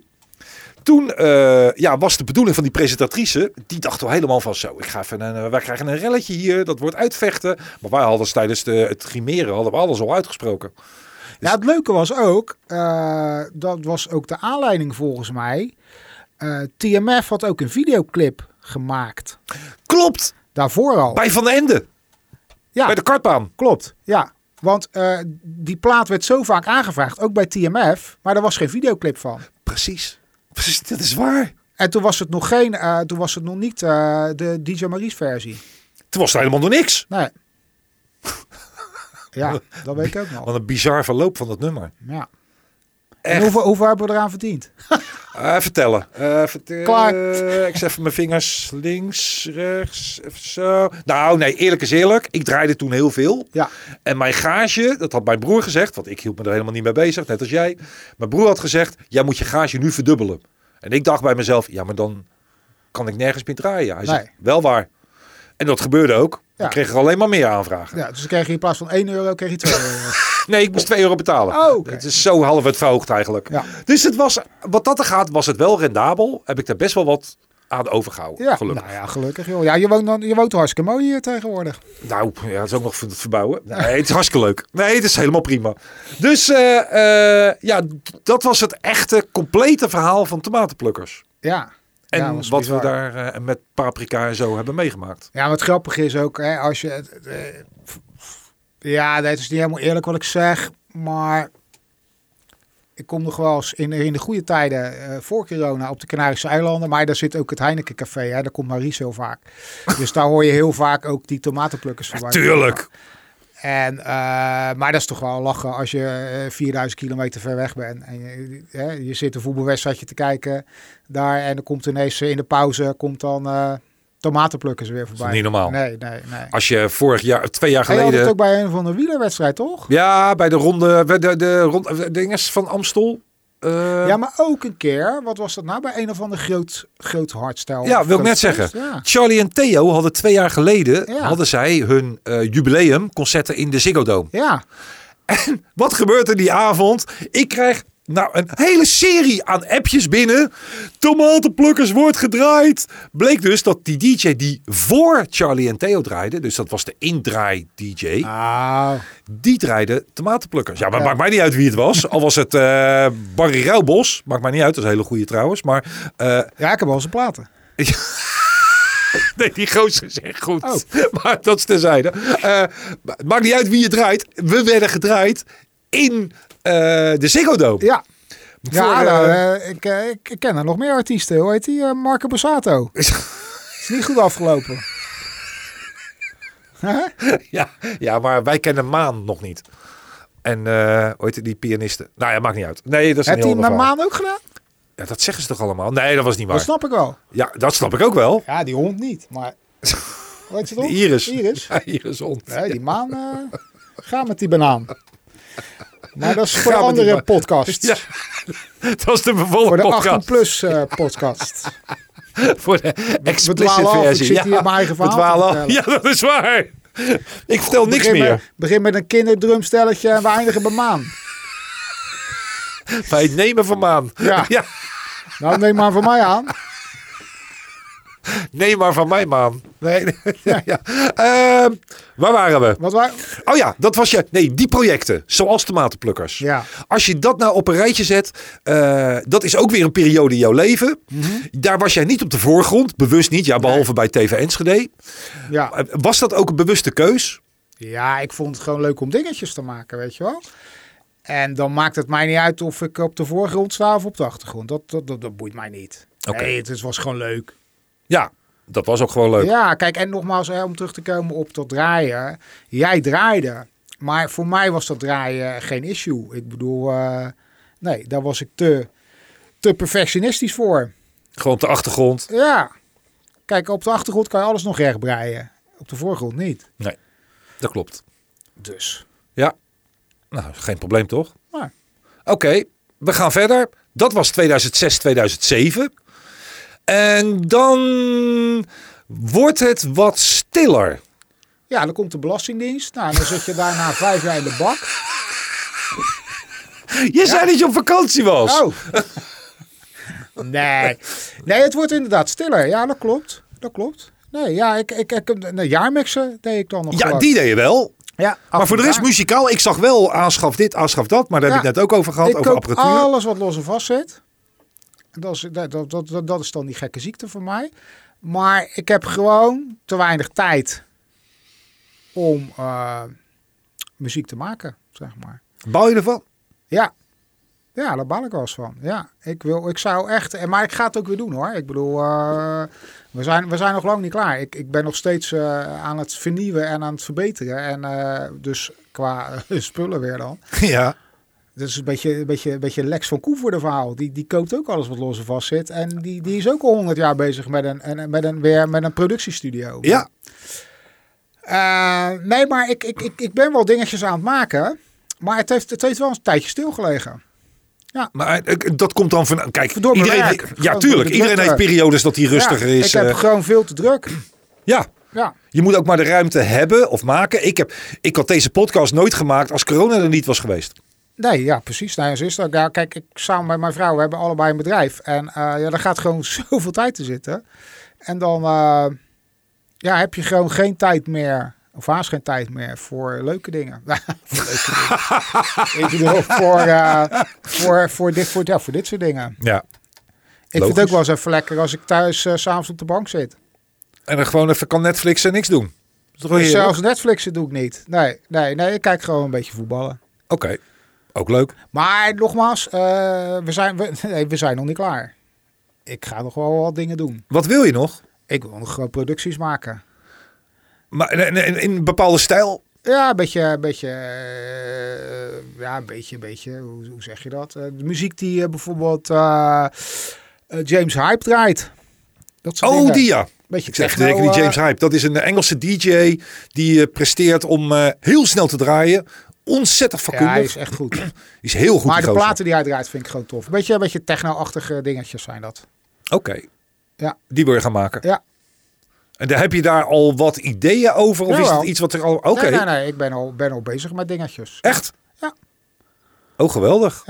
Toen eh, ja, was de bedoeling van die presentatrice. Die dacht wel helemaal van zo. Ik ga even een, eh, wij krijgen een relletje hier. Dat wordt uitvechten. Maar wij hadden dus tijdens de, het grimeren hadden we alles al uitgesproken. Ja, het leuke was ook, eh, dat was ook de aanleiding volgens mij. Eh, TMF had ook een videoclip gemaakt. Klopt. Daarvoor al. Bij Van den Ende. ja, Bij de kartbaan. klopt. Ja, want eh, die plaat werd zo vaak aangevraagd, ook bij TMF, maar er was geen videoclip van. Precies. Precies. Dat is waar. En toen was het nog geen, eh, toen was het nog niet eh, de DJ Maries versie. Toen was er helemaal nog niks. Nee. ja, dat weet ik ook nog. Wat een bizar verloop van dat nummer. Ja. En Echt. hoeveel, hoeveel hebben we eraan verdiend? Eh, vertellen. Eh, vertel- Klaar. eh, ik zet even mijn vingers links, rechts, even zo. Nou, nee, eerlijk is eerlijk. Ik draaide toen heel veel. Ja. En mijn gage, dat had mijn broer gezegd, want ik hield me er helemaal niet mee bezig, net als jij. Mijn broer had gezegd, jij moet je gage nu verdubbelen. En ik dacht bij mezelf, ja, maar dan kan ik nergens meer draaien. Hij zegt, Nee. wel waar. En dat gebeurde ook. Ja. Ik kreeg er alleen maar meer aanvragen. Ja, dus dan kreeg je in plaats van 1 euro, kreeg je 2 euro. Nee, ik moest 2 euro betalen. Oh, oké. Het is zo half het verhoogd eigenlijk. Ja. Dus het was, wat dat er gaat, was het wel rendabel. Heb ik daar best wel wat aan overgehouden, Ja, gelukkig. nou ja, gelukkig joh. Ja, je woont, dan, je woont hartstikke mooi hier tegenwoordig. Nou, ja, het is ook nog voor het verbouwen. Nee, het is hartstikke leuk. Nee, het is helemaal prima. Dus eh, eh, ja, d- dat was het echte, complete verhaal van tomatenplukkers. Ja. En ja, was wat bizar. we daar eh, met paprika en zo hebben meegemaakt. Ja, wat grappig is ook, hè, als je... het- het, eh, ja, nee, het is niet helemaal eerlijk wat ik zeg, maar... Ik kom nog wel eens in, in de goede tijden eh, voor corona op de Canarische eilanden. Maar daar zit ook het Heineken Café. Hè, daar komt Maries heel vaak. Dus daar hoor je heel vaak ook die tomatenplukkers voorbij. Tuurlijk. En, eh, maar dat is toch wel lachen als je eh, 4000 kilometer ver weg bent. En je, hè, je zit een voetbalwedstrijdje te kijken daar. En dan komt ineens eh, in de pauze komt dan eh, tomatenplukkers weer voorbij. niet normaal. Nee, nee, nee. Als je vorig jaar, twee jaar Hij had het geleden... ook bij een van de wielerwedstrijd, toch? Ja, bij de ronde, bij de, de, ronde de dinges van Amstel. Eh, Ja, maar ook een keer. Wat was dat nou? Bij een of ander groot, groot hardstijl. Ja, Of wil ik groot net zeggen. feest, ja. Charlie en Theo hadden twee jaar geleden Ja. hadden zij hun eh, jubileumconcerten in de Ziggo Dome. Ja, Wat gebeurt er die avond? Ik krijg nou een hele serie aan appjes binnen. Tomatenplukkers wordt gedraaid. Bleek dus dat die DJ die voor Charlie en Theo draaide, dus dat was de indraai DJ, Ah, die draaide tomatenplukkers. Ja, maar Ja. maakt mij niet uit wie het was. Al was het eh Barry Ruilbos, maakt mij niet uit. Dat is een hele goede trouwens. Maar eh, ja ik heb wel zijn platen. Nee, die gozer is echt goed. Oh. Maar dat is terzijde. Eh, ma- maakt niet uit wie je draait. We werden gedraaid in eh, de Ziggo Dome. Ja, ja Voor, nou, eh, eh, ik, eh, ik, ik ken er nog meer artiesten. Hoe heet die? Eh, Marco Borsato. Is niet goed afgelopen. Hè? ja, ja, maar wij kennen Maan nog niet. En eh hoe heet die pianiste? Nou ja, maakt niet uit. Nee, dat is Heeft een hij heel met ander verhaal. Maan ook gedaan? Ja, dat zeggen ze toch allemaal? Nee, dat was niet waar. Dat snap ik wel. Ja, dat snap ik ook wel. Ja, die hond niet, maar... Weet je De toch? Iris. Iris. Ja, Iris hond. Nee, die maan... eh, ga met die banaan. Maar dat is voor Ga een met die andere ba- podcast. Ja, dat is de Voor vervolgde de podcast. 18-plus eh, podcast. Voor de explicit dwalen af. Ik versie. zit hier mijn eigen we verhaal te dwalen af. Ja, vertellen. dat is waar. Ik vertel niks begin meer. Met, begin met een kinderdrumstelletje en we eindigen bij maan. Bij het nemen van maan. Ja. Nou, neem maar van mij aan. neem maar van mij maan. Nee, nee, ja, ja. Ehm, waar waren we? Wat wij... Oh ja, dat was je. Nee, die projecten. Zoals tomatenplukkers. Ja. Als je dat nou op een rijtje zet. eh, dat is ook weer een periode in jouw leven. Mhm. Daar was jij niet op de voorgrond. Bewust niet. Ja, behalve bij TV Enschede. Ja. Was dat ook een bewuste keus? ja, ik vond het gewoon leuk om dingetjes te maken, weet je wel. En dan maakt het mij niet uit of ik op de voorgrond sta of op de achtergrond. Dat, dat, dat, dat boeit mij niet. Oké. Nee, het is- was gewoon leuk. Ja, dat was ook gewoon leuk. Ja, kijk, en nogmaals, hè, om terug te komen op dat draaien. Jij draaide, maar voor mij was dat draaien geen issue. Ik bedoel, eh, nee, daar was ik te, te perfectionistisch voor. Gewoon op de achtergrond. Ja. Kijk, op de achtergrond kan je alles nog recht breien. Op de voorgrond niet. Dat klopt. Dus. Nou, geen probleem toch? Maar. Oké, we gaan verder. Dat was 2006, 2007. En dan wordt het wat stiller. Ja, dan komt de Belastingdienst. Nou, dan zit je daarna vijf jaar in de bak. Je zei dat je op vakantie was. Oh. nee. Nee, het wordt inderdaad stiller. Ja, dat klopt. Dat klopt. Nee, ja, ik, ik, ik, een jaarmixen deed ik dan nog ja, gewoon. die deed je wel. Ja, Maar voor de rest moet muzikaal, ik zag wel aanschaf dit, aanschaf dat. Maar daar heb Ja. ik net ook over gehad, ik over koop apparatuur. alles wat los en vast zit. En Dat is, dat, dat, dat, dat is dan die gekke ziekte voor mij. Maar ik heb gewoon te weinig tijd om eh, muziek te maken, zeg maar. Bouw je ervan? Ja. Ja, daar baal ik wel eens van. Ja, ik, wil, ik zou echt... en- Maar ik ga het ook weer doen, hoor. Ik bedoel, eh, we, zijn, we zijn nog lang niet klaar. Ik, ik ben nog steeds eh, aan het vernieuwen en aan het verbeteren. En eh, dus qua eh, spullen weer dan. ja. Dat is een beetje, een beetje, een beetje Lex van Koevoorde verhaal. Die, die koopt ook alles wat los en vast zit. En die, die is ook al honderd jaar bezig met een, en- en met een, weer, met een productiestudio. Ja. Eh, nee, maar ik, ik, ik, ik ben wel dingetjes aan het maken. Maar het heeft, het heeft wel een tijdje stilgelegen. Maar eh, dat komt dan van... Kijk, Door mijn iedereen, werk. heeft- Gewoon ja, door tuurlijk. de Iedereen drukte. heeft periodes dat hij rustiger Ja, is. Ik heb eh, gewoon veel te druk. ja. Ja, Je moet ook maar de ruimte hebben of maken. Ik, heb, ik had deze podcast nooit gemaakt als corona er niet was geweest. nee, ja, precies. Nou, zo is dat. Ja, kijk, ik samen met mijn vrouw, we hebben allebei een bedrijf. En eh, ja, daar gaat gewoon zoveel tijd te zitten. En dan eh, ja, heb je gewoon geen tijd meer, of haast geen tijd meer, voor leuke dingen. Nou, voor leuke dingen. Ik bedoel, voor, eh, voor, voor, dit, voor, ja, voor dit soort dingen. Ja. Ik vind Logisch. Oh, het ook wel eens even lekker als ik thuis eh, s s'avonds op de bank zit. En dan gewoon even kan Netflix en niks doen. Is toch Dus heerlijk? zelfs Netflixen doe ik niet. Nee, nee, nee, ik kijk gewoon een beetje voetballen. Oké, ook leuk. Maar nogmaals, eh, we, zijn, we, nee, we zijn nog niet klaar. Ik ga nog wel wat dingen doen. Wat wil je nog? Ik wil nog eh, producties maken. Maar in, in, in een bepaalde stijl? Ja, een beetje, een beetje, eh, ja, een beetje, een beetje, hoe, hoe zeg je dat? Eh, de muziek die eh, bijvoorbeeld eh, eh, James Hype draait. Dat soort Oh, dingen. die ja. Beetje Ik zeg techno, zeker niet eh, James Hype. Dat is een Engelse DJ die eh, presteert om eh, heel snel te draaien. Ontzettend ja, hij vakkundig. is echt goed. Die is heel goed. maar die de gozer. platen die hij draait vind ik gewoon tof. Een beetje, een beetje techno-achtige dingetjes zijn dat. Oké. Ja. Die wil je gaan maken. Ja. En daar heb je daar al wat ideeën over? Of is Jawel. het iets wat er al... Oké. Nee, nee, nee, ik ben al, ben al bezig met dingetjes. Echt? Ja. Oh, geweldig.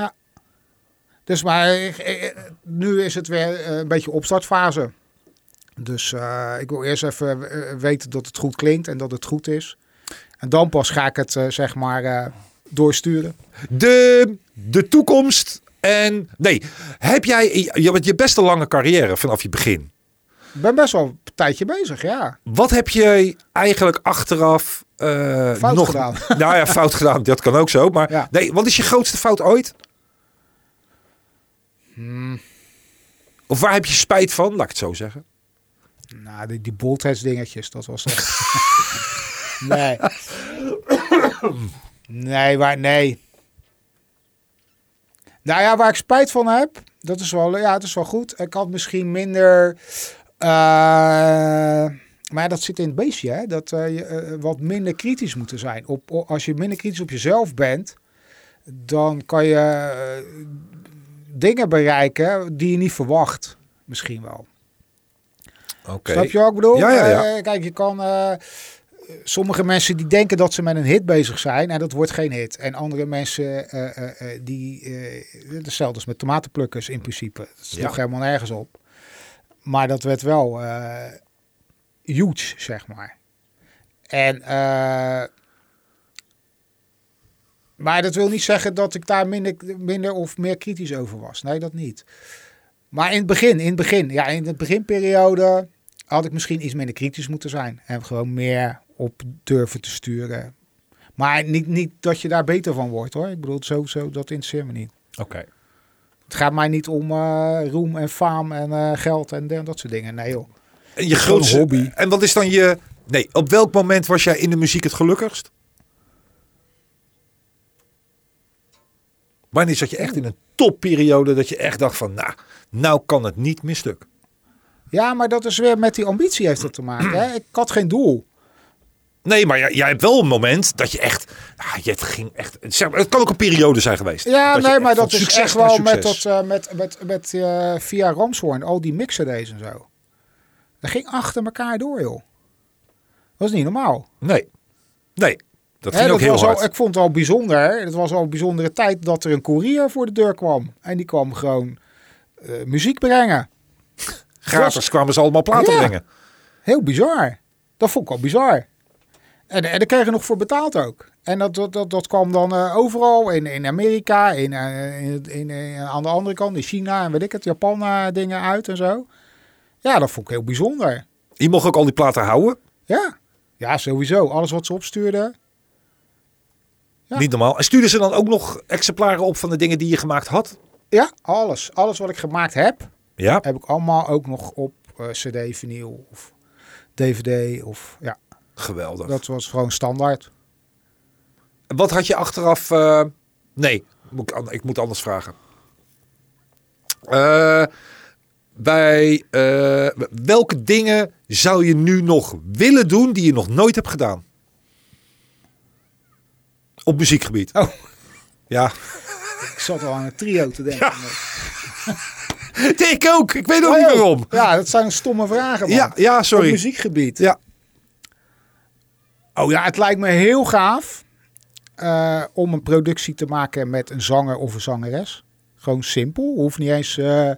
Dus maar eh, eh, nu is het weer eh, een beetje opstartfase. Dus eh, ik wil eerst even eh, weten dat het goed klinkt en dat het goed is. En dan pas ga ik het eh, zeg maar eh, doorsturen. De, de toekomst en... Nee, heb jij... Je hebt je best een lange carrière vanaf je begin. Ik ben best wel een tijdje bezig, ja. Wat heb jij eigenlijk achteraf... eh, Fout nog, gedaan. Nou ja, fout gedaan. Dat kan ook zo. Maar Ja. nee, wat is je grootste fout ooit? Hmm. Of waar heb je spijt van? Laat ik het zo zeggen. Nou, die, die boltheids dingetjes, dat was echt... nee. nee, waar, nee. Nou ja, waar ik spijt van heb, dat is wel, ja, dat is wel goed. Ik had misschien minder... eh, maar ja, dat zit in het beestje, hè. Dat eh, je eh, wat minder kritisch moeten zijn. Op, o- als je minder kritisch op jezelf bent, dan kan je eh, dingen bereiken die je niet verwacht. Misschien wel. Oké. Snap je wat ik bedoel? Ja, ja, ja. Eh, kijk, je kan... eh, sommige mensen die denken dat ze met een hit bezig zijn en dat wordt geen hit. En andere mensen eh, eh, eh, die... eh, hetzelfde is met tomatenplukkers in principe. Dat is Ja. nog helemaal nergens op. Maar dat werd wel eh, huge, zeg maar. En... eh, maar dat wil niet zeggen dat ik daar minder, minder of meer kritisch over was. Nee, dat niet. Maar in het begin, in het begin, ja, in de beginperiode had ik misschien iets minder kritisch moeten zijn. En gewoon meer op durven te sturen. Maar niet, niet dat je daar beter van wordt hoor. Ik bedoel, zo, zo, dat interesseert me niet. Oké. Het gaat mij niet om eh, roem en faam en eh, geld en de- dat soort dingen. Nee joh. En je Gewoon grootste een hobby. En wat is dan je. Nee, op welk moment was jij in de muziek het gelukkigst? Wanneer zat je echt in een topperiode dat je echt dacht van, nou, nou kan het niet meer stuk. Ja, maar dat is weer met die ambitie heeft het te maken. Hè? Ik had geen doel. Nee, maar jij, jij hebt wel een moment dat je echt... Ah, je het ging echt zeg maar, het kan ook een periode zijn geweest. Ja, Dat je nee, echt maar van dat is succes echt naar wel met, dat, succes. eh, met, met, met eh, via Ramshoorn, al die mixerdays en zo. Dat ging achter elkaar door, joh. Dat is niet normaal. Nee, nee. Dat Hè, ging ook heel was al- hard. ik vond het al bijzonder. hè. Het was al een bijzondere tijd dat er een koerier voor de deur kwam. En die kwam gewoon eh, muziek brengen. Gratis kwamen ze allemaal platen Ja. brengen. Heel bizar. Dat vond ik al bizar. En, en daar kregen we nog voor betaald ook. En dat, dat, dat, dat kwam dan eh, overal. In, in Amerika, in, eh, in, in, in- aan de andere kant, in China en weet ik het, Japan eh, dingen uit en zo. Ja, dat vond ik heel bijzonder. Je mocht ook al die platen houden. Ja, ja sowieso. Alles wat ze opstuurden. Ja. Niet normaal. En stuurden ze dan ook nog exemplaren op van de dingen die je gemaakt had? Ja, alles. Alles wat ik gemaakt heb, Ja. heb ik allemaal ook nog op eh, cd, vinyl of dvd. Of, ja, Geweldig. dat was gewoon standaard. Wat had je achteraf... eh, Nee, moet ik, an- ik moet anders vragen. Eh, bij eh, welke dingen zou je nu nog willen doen die je nog nooit hebt gedaan? Op muziekgebied. Oh. Ja. Ik zat al aan een trio te denken. ik ook. Ik weet ook Oh, niet joh. waarom. Ja, dat zijn stomme vragen, man. Ja, ja, Op sorry. muziekgebied. Ja. Oh ja, het lijkt me heel gaaf eh, om een productie te maken met een zanger of een zangeres. Gewoon simpel. Hoeft niet eens eh,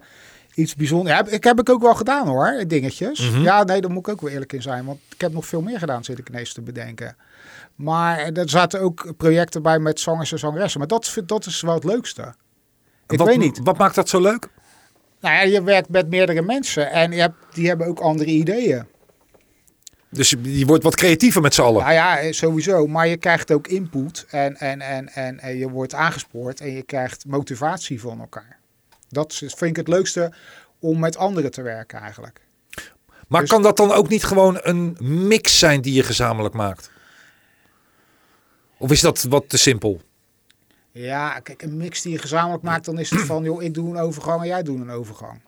iets bijzonders. Ja, ik heb ik ook wel gedaan hoor, dingetjes. Mhm. Ja, nee, daar moet ik ook wel eerlijk in zijn. Want ik heb nog veel meer gedaan, zit ik ineens te bedenken. Maar eh, er zaten ook projecten bij met zangers en zangeressen. Maar dat, vind- dat is wel het leukste. Ik Wat- weet niet. Wat maakt dat zo leuk? Nou ja, je werkt met meerdere mensen en je hebt, die hebben ook andere ideeën. Dus je je wordt wat creatiever met z'n allen. Nou ja, eh, sowieso. Maar je krijgt ook input en, en, en, en, en je wordt aangespoord en je krijgt motivatie van elkaar. Dat is- vind ik het leukste om met anderen te werken eigenlijk. maar dus- kan dat dan ook niet gewoon een mix zijn die je gezamenlijk maakt? Of is dat wat te simpel? Ja, kijk, een mix die je gezamenlijk maakt, dan is het van, joh, ik doe een overgang en jij doet een overgang.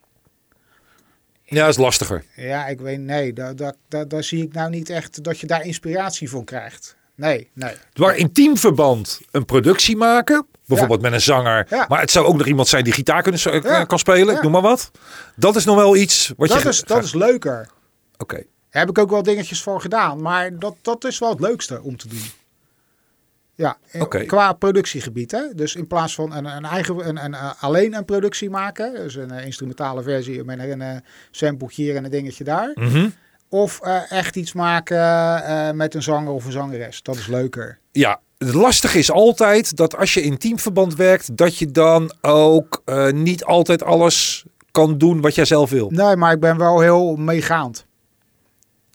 Ja, is lastiger. Ja, ik weet, nee, daar daar daar- daar zie ik nou niet echt dat je daar inspiratie van krijgt. Nee, nee. Maar intiem verband een productie maken, bijvoorbeeld met een zanger. Ja. Maar het zou ook nog iemand zijn die gitaar kunnen, zo- eh, Ja. kan spelen, ik Ja. noem maar wat. Dat is nog wel iets wat je... Dat is, dat is leuker. Oké. Daar heb ik ook wel dingetjes voor gedaan. Maar dat, dat is wel het leukste om te doen. Ja, eh, Oké. qua productiegebied. Hè? Dus in plaats van een, een eigen, een, een, eh, alleen een productie maken. Dus een eh, instrumentale versie met een eh sample hier en een dingetje daar. Mhm. Of eh, echt iets maken eh, met een zanger of een zangeres. Dat is leuker. Ja, het lastige is altijd dat als je in teamverband werkt, dat je dan ook eh, niet altijd alles kan doen wat jij zelf wil. Nee, maar ik ben wel heel meegaand.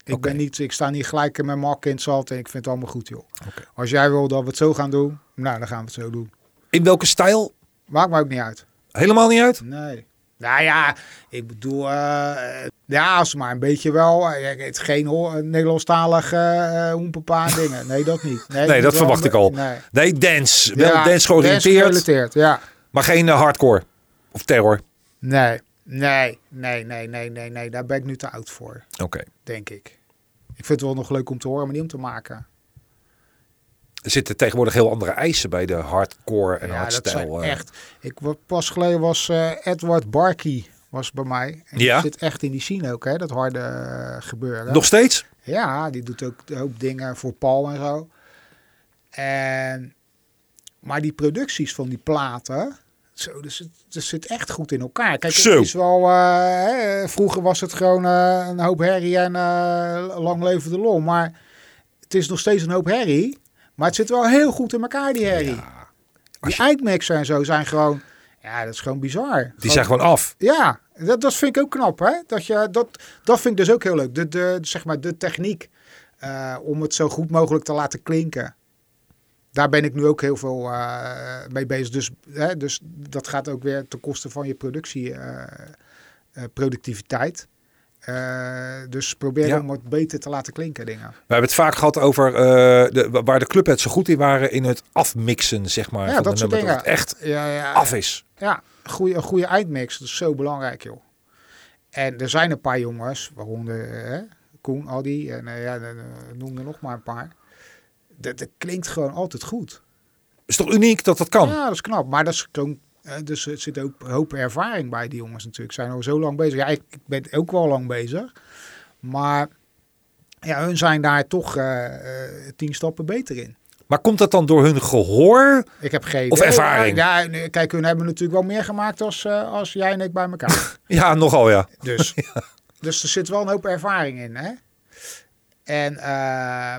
Ik, Oké. ben niet, ik sta niet gelijk in mijn mak in het zand en ik vind het allemaal goed, joh. Als jij wil dat we het zo gaan doen, nou, dan gaan we het zo doen. In welke stijl? Maakt me ook niet uit. Helemaal niet uit. Nee. Nou ja, ik bedoel, eh, eh, ja, als ze maar een beetje wel. eh, ja, het is geen ho- eh, Nederlandstalig eh eh, hoenpapa dingen. Nee, dat niet. Nee, moet dat wel verwacht een ik al. be- Nee. Nee, dance. Wel Ja, dance georiënteerd, gerelateerd, ja. maar geen eh, hardcore of terror. Nee, nee, nee, nee, nee, nee, nee. Daar ben ik nu te oud voor, Oké. denk ik. Ik vind het wel nog leuk om te horen, maar niet om te maken. Er zitten tegenwoordig heel andere eisen bij de hardcore en ja, dat hardstyle. zijn eh. echt. Ik, wa- pas geleden was eh, Edward Barkey was bij mij. En die Ja. zit echt in die scene ook, hè, dat harde eh, gebeuren. Nog steeds? Ja, die doet ook een hoop dingen voor Paul en zo. En, maar die producties van die platen, zo, dat, zit, dat zit echt goed in elkaar. Kijk, Zo. het is wel, eh, hè, vroeger was het gewoon eh, een hoop herrie en eh, lang leven de lol. Maar het is nog steeds een hoop herrie. Maar het zit wel heel goed in elkaar, die herrie. Die eindmixen en zo zijn gewoon, ja, dat is gewoon bizar. Die zijn gewoon af. Ja, dat, dat vind ik ook knap. Hè? Dat, je, dat, dat vind ik dus ook heel leuk. De, de, zeg maar de techniek eh, om het zo goed mogelijk te laten klinken. Daar ben ik nu ook heel veel eh, mee bezig. Dus, hè, dus dat gaat ook weer ten koste van je productie, eh, eh, productiviteit. Eh, dus probeer Ja. om het beter te laten klinken, dingen. We hebben het vaak gehad over eh, de, waar de clubheads zo goed in waren in het afmixen, zeg maar. Ja, van dat de soort nummer, dingen. het echt Ja, ja, af is. ja goede, een goede eindmix. Dat is zo belangrijk, joh. En er zijn een paar jongens, waaronder eh, Koen, Aldi en eh, ja, eh, noem er nog maar een paar. Dat, dat klinkt gewoon altijd goed. Is toch uniek dat dat kan? Ja, dat is knap. Maar dat is gewoon, eh, dus er zit ook een hoop ervaring bij die jongens natuurlijk. Zijn al zo lang bezig. Ja, ik, ik ben ook wel lang bezig. Maar ja, hun zijn daar toch eh, eh, tien stappen beter in. Maar komt dat dan door hun gehoor? Ik heb geen Of idee. ervaring. Ja, nee, kijk, hun hebben natuurlijk wel meer gemaakt als, eh, als jij en ik bij elkaar. Ja, nogal ja. Dus, dus er zit wel een hoop ervaring in. Hè? En, eh,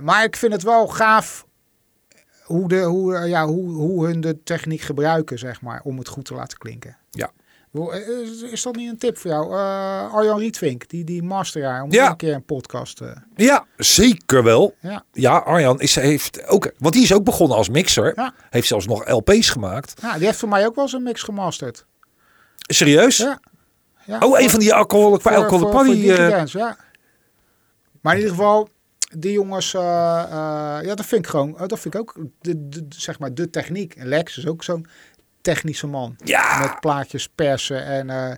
maar ik vind het wel gaaf hoe, de, hoe, eh, ja, hoe, hoe hun de techniek gebruiken, zeg maar, om het goed te laten klinken. Ja. Hoe- Is, is dat niet een tip voor jou? Eh, Arjan Rietvink, die, die masteraar, om Ja. een keer een podcast... eh, Ja, zeker wel. ja. Ja, Arjan is, heeft ook, want die is ook begonnen als mixer. Ja. Heeft zelfs nog LP's gemaakt. ja, die heeft voor mij ook wel eens een mix gemasterd. Serieus? Ja. Ja, Oh, een van die alcoholic, Voor- alcoholic voor- voor Party, Dirty eh, Dance, ja. Maar in ieder geval, die jongens, eh, eh, ja, dat vind ik gewoon, eh, dat vind ik ook, de, de- de- zeg maar, de techniek. En Lex is ook zo'n technische man. Ja. Met plaatjes persen en... eh,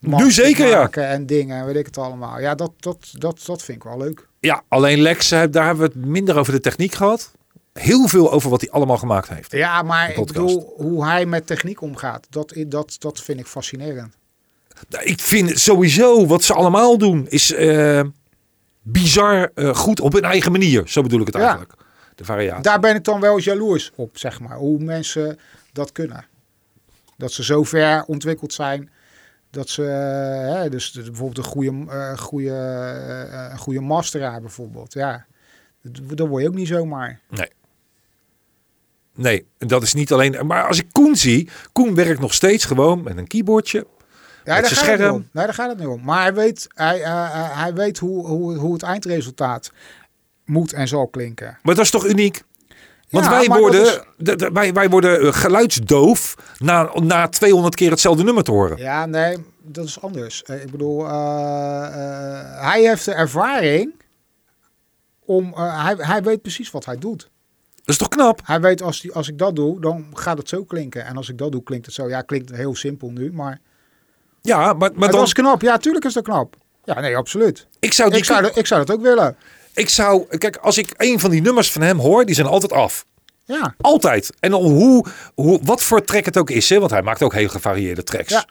Nu zeker, ja. maken En dingen, en weet ik het allemaal. Ja, dat, dat, dat, dat vind ik wel leuk. Ja, alleen Lex, eh, daar hebben we het minder over de techniek gehad. Heel veel over wat hij allemaal gemaakt heeft. Ja, maar Een ik podcast. bedoel, hoe hij met techniek omgaat, dat, dat, dat vind ik fascinerend. Nou, Ik vind sowieso wat ze allemaal doen is eh, bizar eh, goed op hun eigen manier. Zo bedoel ik het Ja. eigenlijk. De variatie. Daar ben ik dan wel eens jaloers op, zeg maar. Hoe mensen dat kunnen. Dat ze zo ver ontwikkeld zijn. Dat ze eh, hè, dus de- bijvoorbeeld een goede, eh, goede, eh, een goede masteraar bijvoorbeeld. Ja, dat, dat word je ook niet zomaar. Nee, dat is niet alleen. Maar als ik Koen zie, Koen werkt nog steeds gewoon met een keyboardje. Ja, Met daar zijn gaat het niet scherm. om. Nee, daar gaat het niet om. Maar hij weet, hij, eh, eh, hij weet hoe, hoe, hoe het eindresultaat moet en zal klinken. Maar dat is toch uniek? Want Ja, wij, maar dat worden, is- d- d- wij, wij worden eh, geluidsdoof na, na 200 keer hetzelfde nummer te horen. Ja, nee, dat is anders. Eh, Ik bedoel, eh, eh, hij heeft de ervaring om. eh, hij, hij weet precies wat hij doet. Dat is toch knap? Hij weet als, die, als ik dat doe, dan gaat het zo klinken. En als ik dat doe, klinkt het zo. Ja, klinkt heel simpel nu, maar. Ja, maar, maar het dan, Oh, dus was knap. Ja, tuurlijk is dat knap. Ja, nee, absoluut. ik zou die Ik zou, dat- ik zou dat ook willen. Ik zou, kijk, als ik een van die nummers van hem hoor, die zijn altijd af. Ja. Altijd. En dan hoe, hoe, wat voor track het ook is, hè? want hij maakt ook heel gevarieerde tracks. Ja.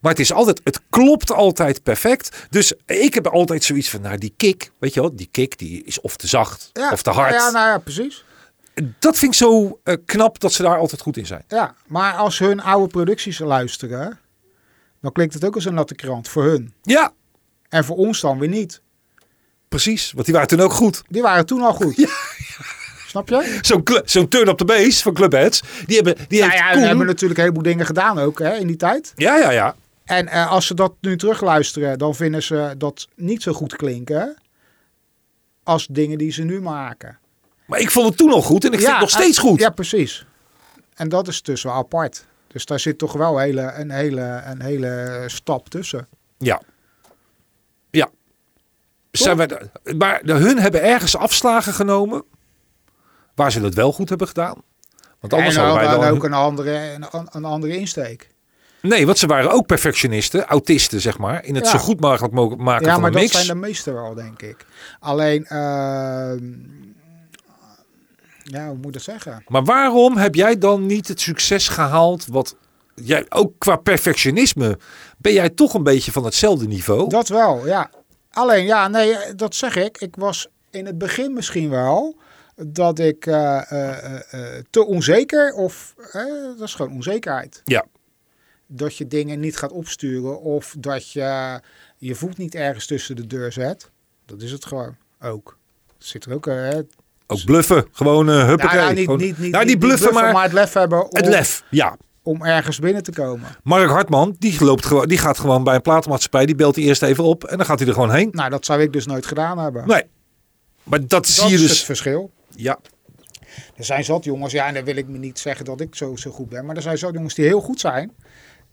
Maar het is altijd, het klopt altijd perfect. Dus ik heb altijd zoiets van, nou die kick, weet je wel, die kick die is of te zacht ja. of te hard. Ja, nou ja, precies. Dat vind ik zo eh, knap dat ze daar altijd goed in zijn. Ja, maar als hun oude producties luisteren, dan klinkt het ook als een natte krant voor hun. Ja, En voor ons dan weer niet. precies. Want die waren toen ook goed. Die waren toen al goed. Snap je? Zo'n cl- zo'n turn up the bass van Clubheads. Die hebben, die Nou heeft ja, we Koen- hebben natuurlijk een heleboel dingen gedaan ook hè, in die tijd. ja, ja, ja. En eh, als ze dat nu terugluisteren, dan vinden ze dat niet zo goed klinken als dingen die ze nu maken. Maar ik vond het toen al goed en ik vind het nog steeds eh, goed. Ja, precies. En dat is dus wel apart. Dus daar zit toch wel hele, een, hele, een hele stap tussen. Ja. Ja. Zijn wij da- maar de- hun hebben ergens afslagen genomen. Waar ze dat wel goed hebben gedaan. Want anders en dan, hadden wij dan dan... ook een andere, een, een andere insteek. Nee, want ze waren ook perfectionisten. Autisten, zeg maar. In het Ja. zo goed mogelijk mo- maken Ja, van maar een dat mix. zijn de meeste wel, denk ik. Alleen, ehm, ja, hoe moet ik dat zeggen? Maar waarom heb jij dan niet het succes gehaald wat... Jij, ook qua perfectionisme ben jij toch een beetje van hetzelfde niveau. Dat wel, ja. Alleen, ja, nee, eh, dat zeg ik. Ik was in het begin misschien wel dat ik eh, eh, eh, eh, te onzeker of eh, dat is gewoon onzekerheid. Ja. Dat je dingen niet gaat opsturen of dat je je voet niet ergens tussen de deur zet. Dat is het gewoon ook. Zit er ook, eh, nou Ook bluffen. Gewoon eh ja, huppakee. Nou, niet, Gewoon- niet, niet, nou, niet niet bluffen, maar, het lef hebben om, het lef. Ja. om ergens binnen te komen. Mark Hartman, die, loopt gewoon, die gaat gewoon bij een platenmaatschappij. Die belt hij eerst even op en dan gaat hij er gewoon heen. Nou, dat zou ik dus nooit gedaan hebben. Nee. Maar dat, dat zie je is dus. het verschil. Ja. Er zijn zat jongens, ja, en dan wil ik me niet zeggen dat ik zo, zo goed ben, maar er zijn zat jongens die heel goed zijn.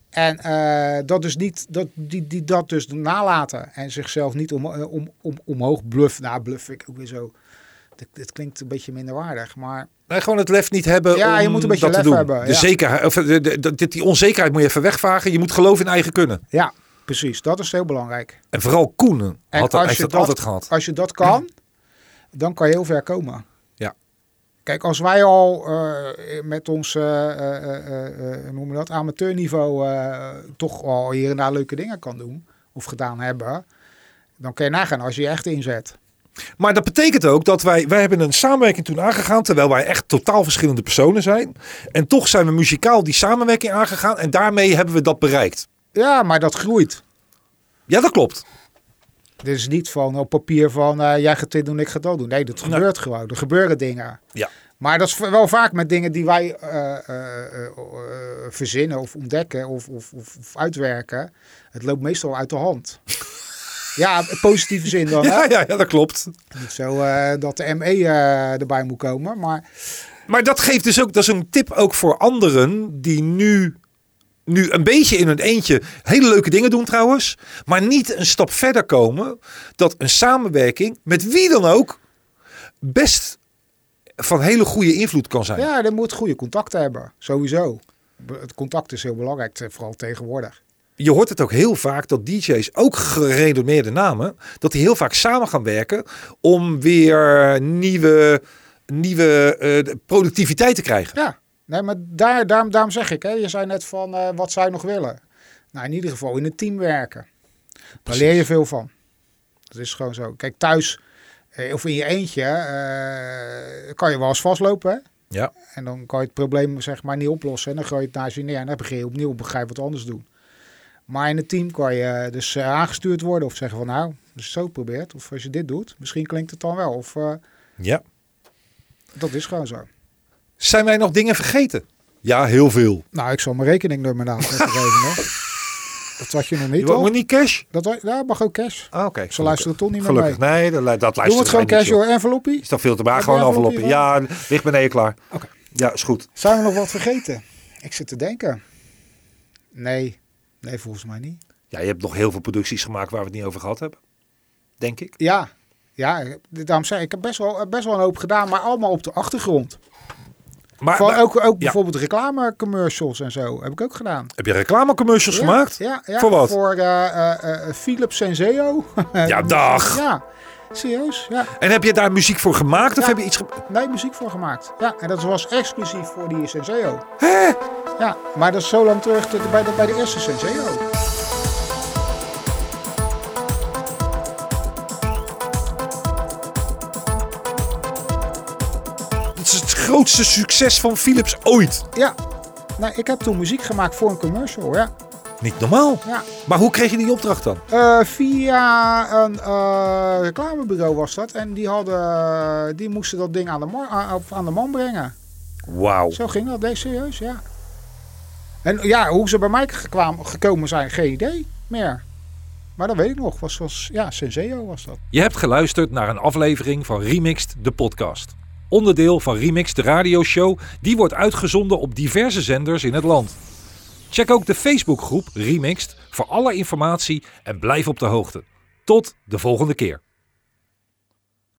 En eh, dat dus niet, dat, die, die dat dus nalaten en zichzelf niet om, eh, om, om, omhoog bluffen. Nou, bluff ik ook weer zo. Dit, dit klinkt een beetje minderwaardig, maar Nee, gewoon het lef niet hebben Ja, om je moet een beetje dat lef te doen. hebben, De ja. zekerheid, of de, de- de- die onzekerheid moet je even wegvagen. Je moet geloven in eigen kunnen. ja, Precies, dat is heel belangrijk. En vooral Koenen En had, als heeft je dat dat- altijd gehad. Als je dat kan, dan kan je heel ver komen. Ja. Kijk, als wij al eh, met ons, eh, eh, eh, eh, hoe noem je dat, amateurniveau eh, toch al hier en daar leuke dingen kan doen of gedaan hebben, dan kan je nagaan als je je echt inzet. Maar dat betekent ook dat wij, wij hebben een samenwerking toen aangegaan. Terwijl wij echt totaal verschillende personen zijn. En toch zijn we muzikaal die samenwerking aangegaan. En daarmee hebben we dat bereikt. Ja, maar dat groeit. Ja, dat klopt. Dit is niet van op papier van eh, jij gaat dit doen, ik ga dat doen. Nee, dat Nee. gebeurt gewoon. Er gebeuren dingen. Ja. Maar dat is wel vaak met dingen die wij eh, eh, eh, eh, verzinnen of ontdekken of, of, of, of uitwerken. Het loopt meestal uit de hand. ja, in positieve zin dan. hè? Ja, ja, ja, dat klopt. Niet zo eh, dat de ME eh, erbij moet komen. Maar Maar dat geeft dus ook, dat is een tip ook voor anderen die nu, nu een beetje in hun eentje hele leuke dingen doen trouwens. Maar niet een stap verder komen dat een samenwerking met wie dan ook best van hele goede invloed kan zijn. ja, je moet goede contacten hebben. Sowieso. Be- Het contact is heel belangrijk, te- vooral tegenwoordig. Je hoort het ook heel vaak dat DJ's, ook gerenommeerde namen, dat die heel vaak samen gaan werken om weer nieuwe, nieuwe eh, productiviteit te krijgen. Ja, nee, maar daar, daarom, daarom zeg ik. Hè. Je zei net van eh, wat zou je nog willen? Nou, in ieder geval in het team werken. Daar leer je veel van. Dat is gewoon zo. Kijk, thuis eh, of in je eentje eh, kan je wel eens vastlopen. Hè? Ja. En dan kan je het probleem zeg maar niet oplossen. En dan gooi je het naast je neer. En dan begin je opnieuw begrijp wat anders doen. Maar in het team kan je eh, dus eh, aangestuurd worden. Of zeggen van nou, als je het zo probeert. Of als je dit doet, misschien klinkt het dan wel. Of eh, ja. dat is gewoon zo. Zijn wij nog dingen vergeten? Ja, heel veel. Nou, ik zal mijn rekeningnummer na geven. hoor. Dat had je nog niet, Je hoor. moet niet cash? Dat had- ja, mag ook cash. Ah, oké. Ze luisteren toch niet meer Gelukkig. Nou, mee. Nee, dat, lu- dat luisteren Doe het gewoon wij cash, niet, joh. hoor. Enveloppie. Is dat veel te maar Heb Gewoon jij een enveloppen. Ja, ligt beneden klaar. Oké. Ja, is goed. Zijn we nog wat vergeten? Ik zit te denken. Nee. Nee, volgens mij niet. Ja, je hebt nog heel veel producties gemaakt waar we het niet over gehad hebben. Denk ik. Ja, ja eh, daarom zei ik, ik heb best wel, best wel een hoop gedaan, maar allemaal op de achtergrond. Maar, nou, Van maar- ook ook ja. bijvoorbeeld reclamecommercials en zo heb ik ook gedaan. heb je reclamecommercials Ja, gemaakt? Ja, ja, Voor wat? Voor eh, eh, eh, Philips en Zeo. Ja, dag. Ja, serieus. Ja. En heb je daar muziek voor gemaakt? Of Ja. heb je iets... ge- Nee, muziek voor gemaakt. Ja, en dat was exclusief voor die Senseo. Hè? Ja, maar dat is zo lang terug te- bij de, bij de eerste Senseo. Het is het grootste succes van Philips ooit. Ja. Nou, ik heb toen muziek gemaakt voor een commercial, ja. Niet normaal. ja. Maar hoe kreeg je die opdracht dan? Eh, via een eh, reclamebureau was dat. En die, hadden, die moesten dat ding aan de, mar- aan- op- aan de man brengen. Wauw. Zo ging dat, nee, serieus, ja. En ja, hoe ze bij mij gekwaam- gekomen zijn, geen idee meer. Maar dat weet ik nog. Was, was, ja, Senseo was dat. Je hebt geluisterd naar een aflevering van Remixed, de podcast. Onderdeel van Remixed, de radioshow, die wordt uitgezonden op diverse zenders in het land. Check ook de Facebookgroep Remixed voor alle informatie en blijf op de hoogte. Tot de volgende keer.